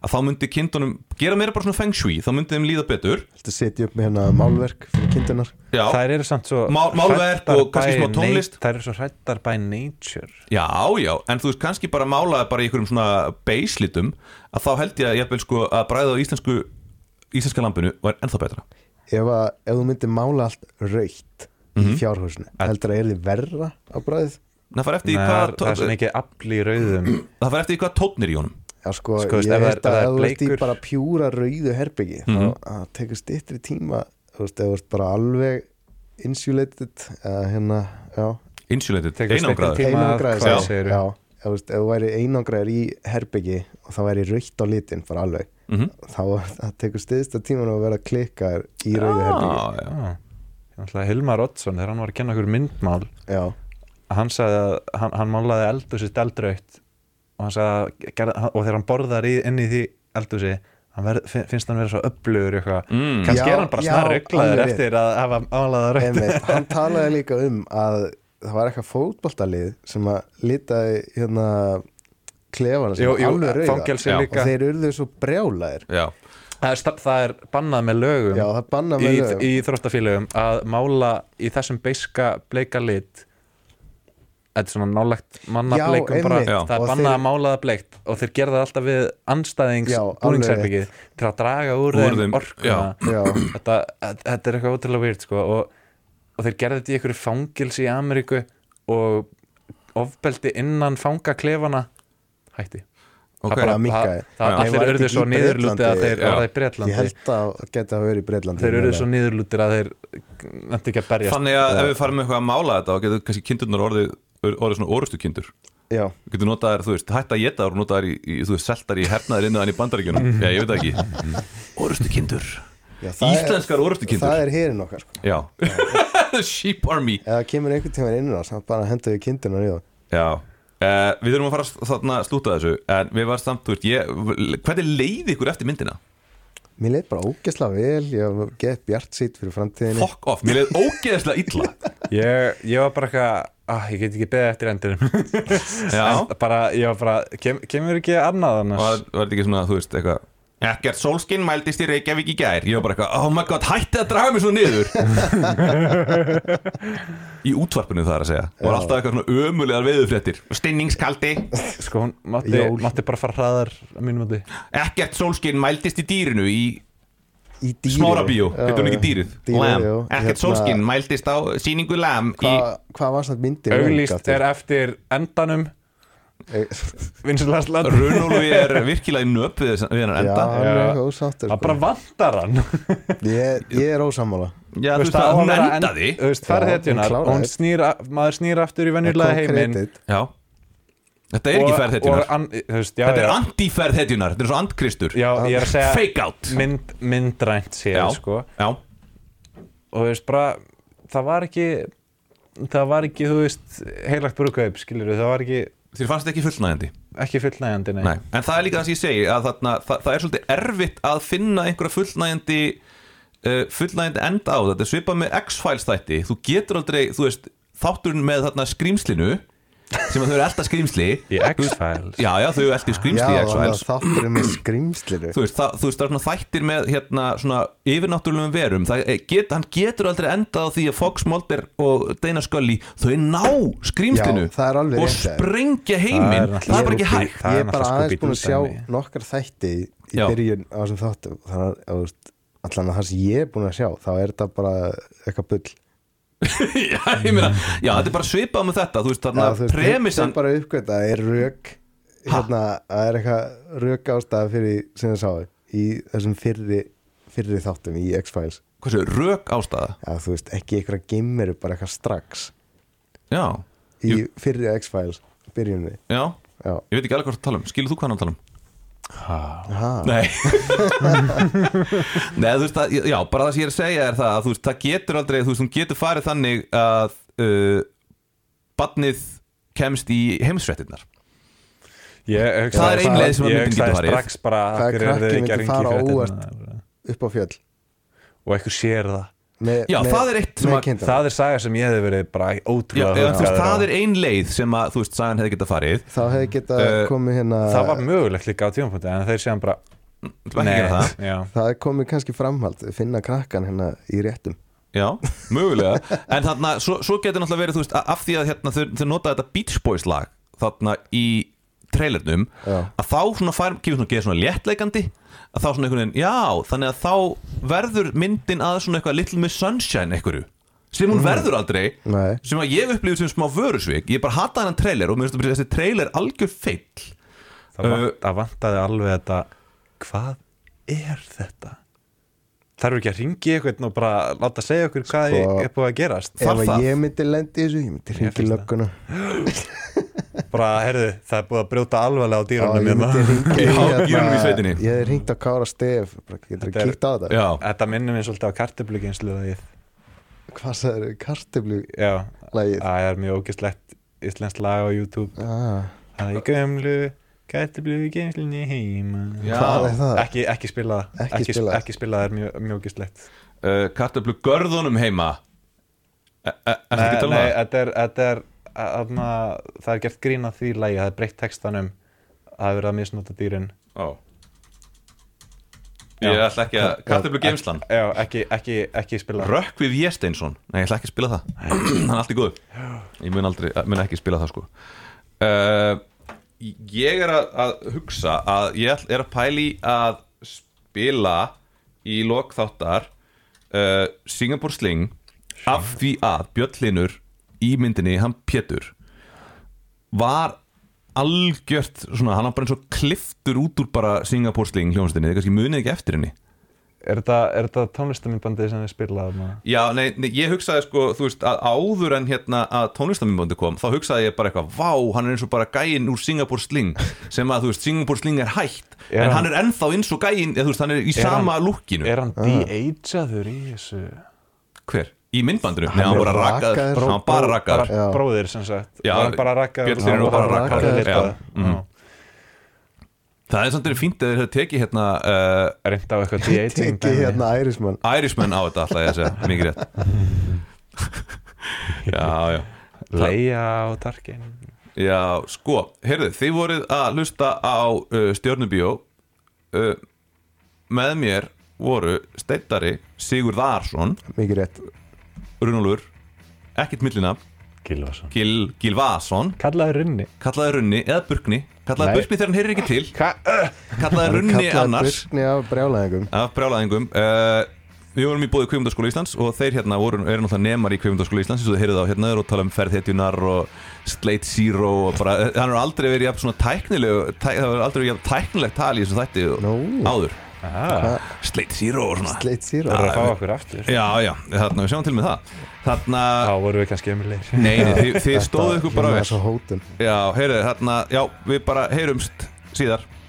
S1: að þá myndi kindunum, gera meira bara svona feng shui þá myndi þeim líða betur
S3: Þetta setja upp með hérna málverk fyrir kindunar
S1: Já,
S4: Þær eru samt svo
S1: Mál- málverk og
S4: hræddar
S1: sko, kannski
S4: by
S1: smá tónlist.
S4: nat- Þær eru svo hrættar by nature
S1: já, já, en þú veist, kannski bara málaði bara í einhverjum svona beislitum að þá held ég að ég vil sko að bræða á íslensku íslenska lampinu var ennþá betra
S3: ef, að, ef þú myndir mála allt raukt í fjárhúsinu heldur að er þið verra á bræðið
S1: Það fær eftir, í
S4: Nei,
S1: hvað,
S4: Það er svo mikið afl í rauðum
S1: það fær eftir í hvað tónn er í honum
S3: Já sko,
S4: Sko, veist,
S3: ég
S4: ef það er-
S3: held að
S4: ef það
S3: ef
S4: er
S3: þú ert í
S4: bleikur-
S3: bara pjúra rauðu herbyggi mm -hmm. þá að tekur styttri tíma þú veist, ef þú ert bara alveg insulated eða hérna, já
S1: Insulated,
S4: Tekur stekkinn
S1: einangraður
S4: Tíma að
S3: einangraðir
S4: hvað
S3: sig,
S4: segirðu?
S3: já, ef þú veist, ef þú væri einangraður í herbyggi og það væri raukt á litin bara alveg
S4: Mhm.
S3: þá það tekur styðsta tíman að vera klikkar í rauðu herbyggi
S1: Já, já.
S4: Þannig að Hilmar Oddsson, þegar hann var að kenna okkur myndmál
S3: já,
S4: hann sagði að hann, hann málaði eldhúsið eldrautt og hann sagði að gerð, og þegar hann borðar í, inn í því eldhúsi hann verð, fin- finnst hann vera svo upplugur eitthvað,
S1: Mm.
S4: kannski
S3: Já,
S4: er hann bara
S3: já,
S4: snar rugglaður
S3: alveg rétt.
S4: eftir að hafa málaða rautt
S3: einmitt, hann talaði líka um að það var eitthvað fótboltalið sem að litaði hérna klefana sem
S4: Jú,
S3: var
S4: jú,
S3: alveg rauða
S4: fangelsi
S1: Já.
S3: og
S4: líka
S3: þeir urðu svo brjálæðir
S1: Já,
S4: það er, sta- það er bannað með lögum
S3: Já, það banna
S4: í,
S3: með lögum
S4: í þróttafélögum að mála í þessum beiska bleika lit þetta er svona nálegt
S3: Já,
S4: mannableikum bara,
S3: einmitt.
S1: Já.
S4: það
S3: Og
S4: er bannað
S3: þeir-
S4: að mála það bleikt og þeir gerða það alltaf við anstæðings
S3: Já, alveg
S4: búningsherbyggið til að draga úr,
S1: Úr þeim,
S4: þeim orkuna
S1: já.
S3: Já.
S4: Þetta, þetta er eitthvað ótrúlega weird sko, og, og þeir gerðu þetta í einhverju fangilsi í Ameríku og ofbeldi innan fangaklefana hætti
S1: ok
S4: það bara,
S3: Það
S4: það,
S3: minkaði. Nei,
S4: það,
S3: var
S4: allir
S3: þetta
S4: urðu
S3: ekki
S4: svo
S3: í
S4: niðurlútið að
S3: Bretlandi?
S4: þeir
S1: Já.
S4: voru í Bretlandi
S3: Ég held að það geti að vera í Breitlandi
S4: þeir eru svo niðurlútir að þeir nætti ekki að berjast
S1: Þannig að ef við farum með eitthvað að mála þetta og getur kannski kindurnar orðið, orðið svona orustu kindur
S3: Já,
S1: Þú getur notað þær, þú veist, hætt að geta þær og notað þær í, í, þú veist, seltar í hernaðir innan í bandaríkjunum Já, ég veit það ekki Orustu kindur
S3: já, það er-
S1: Íslenskar orustu
S3: Það
S1: kindur
S3: er hérinn okkar sko.
S1: Já [laughs] The Sheep Army
S3: Ef það kemur einhvern tíma inn á það bara hendur við kindunar í það
S1: Já Uh, við þurfum að fara að þarna að slúta þessu en við varum samt, þú veist, ég, hvernig leiði ykkur eftir myndina?
S3: Mér leið bara ógesla vel Ég hef gett bjart sýtt fyrir framtíðinni
S1: Fuck off, mér leiði ógeðslega illa
S4: ég, ég var bara eitthvað ah, ég get ekki beðið eftir endurum
S1: Já,
S4: [laughs] En bara, ég var bara, kem, kemur ekki annað annars
S1: var, var þetta ekki svona, þú veist, eitthvað Ekkert sólskinn mældist í Reykjavík í gær Ég var bara eitthvað, oh my god, hætti að draga mig svona niður Í útvarpinu það er að segja Var alltaf eitthvað svona ömulegar veðufréttir Stinningskaldi,
S4: sko, hún mátti,
S3: Jól.
S4: mátti bara fara hraðar að mínum átti
S1: ekkert sólskinn mældist í dýrinu Í
S3: Í dýri
S1: smára bíó, heitur hún ekki dýrið Hérna- Lamb, ekkert sólskinn mældist á síningu lam í...
S3: Hérna, Hvað hvað var svona myndi
S4: auglýst er eftir endanum vinsilast land
S1: Runolfi er virkilega í nöp við, þess- við hann
S3: Já,
S1: enda
S3: hann er
S4: Já.
S3: eitthvað ósáttur
S4: það
S3: sko.
S4: bara vantar hann
S3: ég, ég er ósammála
S1: Já, þú veist að hún endaði
S4: þú veist, ferð
S3: Já,
S4: hetjunar
S3: hún
S4: og hún snýr, a- maður snýr aftur í venjulega
S3: Kom
S4: heiminn
S3: kredit.
S1: Já Þetta er ekki ferð hetjunar
S4: og an- þú veist, já,
S1: Þetta er
S4: já,
S1: anti-ferð hetjunar, þetta er svo andkristur
S4: já, ég er að segja
S1: Fake out
S4: mynd, myndrænt séð sko
S1: já,
S4: og þú veist bara það var ekki það var ekki, þú veist, heilagt brúkaup skilur það var ekki,
S1: þér fannst þetta ekki fullnægjandi
S4: ekki fullnægjandi nei.
S1: Nei. En það er líka það sem ég segi að þarna, það, það er svolítið erfitt að finna einhverja fullnægjandi uh, fullnægjandi enda á þetta Þetta er svipað með X-Files þætti Þú getur aldrei, þú veist, þátturinn með þarna skrýmslinu sem að þau eru elda skrýmsli [laughs]
S4: í X-Files
S1: Já, já, þau eru eldi
S3: Já,
S1: skrýmsli í
S3: þannig að
S1: X-Files
S3: þátturinn með skrýmsliru
S1: þú veist, það, þú veist, það er svona þættir með hérna, svona yfirnáttúrulegum verum það, eh, get, hann getur aldrei endað á því að Fox Mulder og Dana Scully þau ná skrýmstinu
S3: Já, það er alveg
S1: og
S3: rétt, það er.
S1: sprengja heiminn það er,
S4: náttúrulega
S1: bara ekki
S4: rúbí-
S1: hægt [laughs]
S4: það
S3: ég
S4: er
S3: er bara
S4: náttúrulega
S3: aðeins
S4: Scooby-Doo
S3: búin að sjá
S4: dæmi.
S3: nokkar þætti í
S1: Já.
S3: byrjun á þessum þáttum þannig að þú veist, allan að það sem ég er búin að sjá þá er þetta bara eitthvað bull
S1: já, ég meina, já, þetta er bara svipað með þetta þú veist, þarna
S3: Mm. þú veist,
S1: premissan
S3: það er bara uppgöta það er rök hérna, það er eitthvað rök ástæða fyrir sem það sáu í þessum fyrri, fyrri þáttum í X-Files
S1: hversu, rök ástæða
S3: að þú veist, ekki eitthvað gimmeru bara eitthvað strax
S1: já,
S3: í
S1: Jú.
S3: fyrri X-Files byrjunni
S1: já,
S3: já,
S1: ég veit ekki alveg hvað það tala um skilur þú hvað hann tala um?
S3: Aha.
S1: Nei [laughs] Nei, þú veist, það, já, bara það sem ég er að segja er það að þú veist, það getur aldrei, þú veist, hún getur farið þannig að uh, badnið kemst í heimsfréttinnar
S4: ég, hugsaði-
S1: Það er ein leið sem að
S4: ég
S1: myndin
S4: hugsaði
S1: getur farið.
S4: strax bara
S3: Hvað
S4: af hverju eru
S3: krakki
S4: þið
S3: myndi
S4: ekki að hringja í
S3: fara
S4: fréttirnar?
S3: óvart? upp á fjöll
S4: og eitthvað sér það
S3: með,
S1: Já,
S3: með,
S1: það er eitt sem
S3: með
S1: að-
S3: kindana.
S4: það er saga sem ég hefði verið bara
S1: Já,
S4: ótrúlega
S1: eða, þú veist,
S4: huggaður á.
S1: það er ein leið sem að, þú veist, sagan hefði getað farið
S3: þá hefði getað
S1: Eh,
S3: komið hérna
S4: það var mögulegt líka á tímapunkti en þeir séðan bara
S1: Þú ætti ekki að gera það
S4: já.
S3: það er komið kannski framhald finna krakkan hérna í réttum
S1: Já, mögulega En þarna, svo, svo getur náttúrulega verið, þú veist, af því að hérna, þau, þau notaði þetta Beach Boys lag þarna í trailernum
S3: Já.
S1: að þá svona fær, kemur svona að gera svona léttleikandi að þá svona einhvern veginn, já, þannig að þá verður myndin að svona eitthvað Little Miss Sunshine einhverju sem hún verður aldrei
S3: Mm. Nei.
S1: sem að ég upplýði sem smá vörusvik ég bara hata hann trailer og mér finnst að þessi trailer algjör feill
S4: það, uh,
S1: Uh,
S4: það vantaði alveg þetta hvað er þetta þarf ekki að ringi eitthvað og bara láta segja okkur hvað
S3: Sko-
S4: er búið að gerast
S1: Þarf
S3: ef að
S1: það?
S3: ég myndi lendi í þessu, ég myndi ringi
S4: finnst
S3: lögguna
S4: bara, heyrðu, það er búið að brjóta alvarlega á
S3: Já, ég
S4: dýrunum
S3: myndi
S4: [laughs] hérna.
S3: hringi
S1: Já, dýrunum í sveitinni.
S3: ég hefði ringt á Kára Stef bara getur
S4: Þetta er-
S3: kíkt á þetta
S1: Já,
S4: þetta minnum við svolítið á kartibluginsluðið
S3: hvað það eru kartiblu
S4: já,
S3: lagið
S4: það er mjög ógislegt íslenskt lag á YouTube
S3: ah,
S4: það er gömlu kartibluginslunni heima
S1: Já.
S3: hvað er það?
S4: ekki, ekki spila það.
S3: Ekki
S4: ekki,
S3: spila það.
S4: ekki spila það er mjög, mjög ógislegt
S1: uh, kartöflu görðunum heima Er þetta ekki að
S4: Nei,
S1: tala um
S4: nei,
S1: það?
S4: þetta er, þetta er aðna, það er gert grín að því lægi, það er breytt textanum það er verið að misnota dýrin
S1: Ó. Ég
S4: Já.
S1: ætla ekki að kartöflu geimslan
S4: Já, ekki, ekki, ekki spila
S1: Rökkvið Jesteinsson Nei, ég ætla ekki að spila það [clears throat] Hann er allt í góð Ég mun, aldrei, mun ekki spila það sko uh, Ég er að, að hugsa að ég ætl- er að pæli að spila í lokþáttar uh, Singapore Sling af því að Björn Linur í myndinni, hann Pétur var algjört svona, hann var bara eins og kliftur út úr bara Singapore Sling hljómsveitinni, þið kannski munið ekki eftir henni
S4: Er þetta, er þetta tónlistamindbandið sem þið spila þarna?
S1: Já, nei, nei, ég hugsaði sko, þú veist, að áður en hérna að tónlistamimbondi kom, þá hugsaði ég bara eitthvað, vá, hann er eins og bara gæinn úr Singapore Sling, sem að, þú veist, Singapore Sling er hægt,
S4: Er
S1: en
S4: hann-
S1: hann er ennþá eins og gæinn, eða, þú veist, hann er í sama
S4: hann-
S1: lúkkinu.
S4: Er hann
S3: Ah.
S4: de-ageaður í þessu?
S1: Hver? Í myndbandinu? Nei, hann
S3: er
S1: var bara rakaður,
S3: rakaður.
S1: hann var bara rakaður.
S4: Bara
S3: Já.
S4: bróðir sem sagt
S1: Já,
S4: Var hann bara rakkaður
S1: Björn Hlynur var bara
S3: rakaður,
S1: já. Mhm. Það er samt verið fínt að þeir hafa tekið hérna uh,
S4: Reynda á eitthvað de-aging
S3: ekki hérna ærismann
S1: Irishman á þetta, alltaf ég að segja, mikið rétt. já, já.
S4: Leia og Tarkin
S1: Já, sko, heyrðu, þið voruð að hlusta á uh, Stjörnubíó uh, með mér voru Steindari Sigurð Arsson
S3: mikið rétt
S1: Runulur, ekkert millina
S4: Gilvason
S1: Gil, Gilvason,
S4: Kallaði runni
S1: kallaði Runni eða Burkni, kallaði
S4: Nei.
S1: Burkni þegar hann heyrir ekki til kallaði Runni annars
S3: byrkni af brjálæðingum
S1: af brjálæðingum uh, Við vorum í bóði Kveimdaskóla Íslands og þeir hérna voru, eru náttúrulega nemar í Kveimdaskóla Íslands eins og þið heyrið á hérna, þeir eru að tala um ferðhetjunar og Slate Zero og bara, hann er aldrei verið jafn svona tæknilegu, tæk, það er aldrei verið jafn tæknilegt tal í þessum þætti og-
S3: Nú.
S1: áður
S4: Það
S1: Slate Zero og svona
S3: sleitt sýra
S4: Ah, er að fá okkur aftur
S1: Já, já, þarna við sjáum til með það Þarna,
S4: Þá vorum við kannski ömulegir
S1: nei, nei, þið, þið stóðu ykkur bara
S3: vel
S1: vel
S3: svo Hérna hótun
S1: Já, heyrðu, þarna, já, við bara heyrumst síðar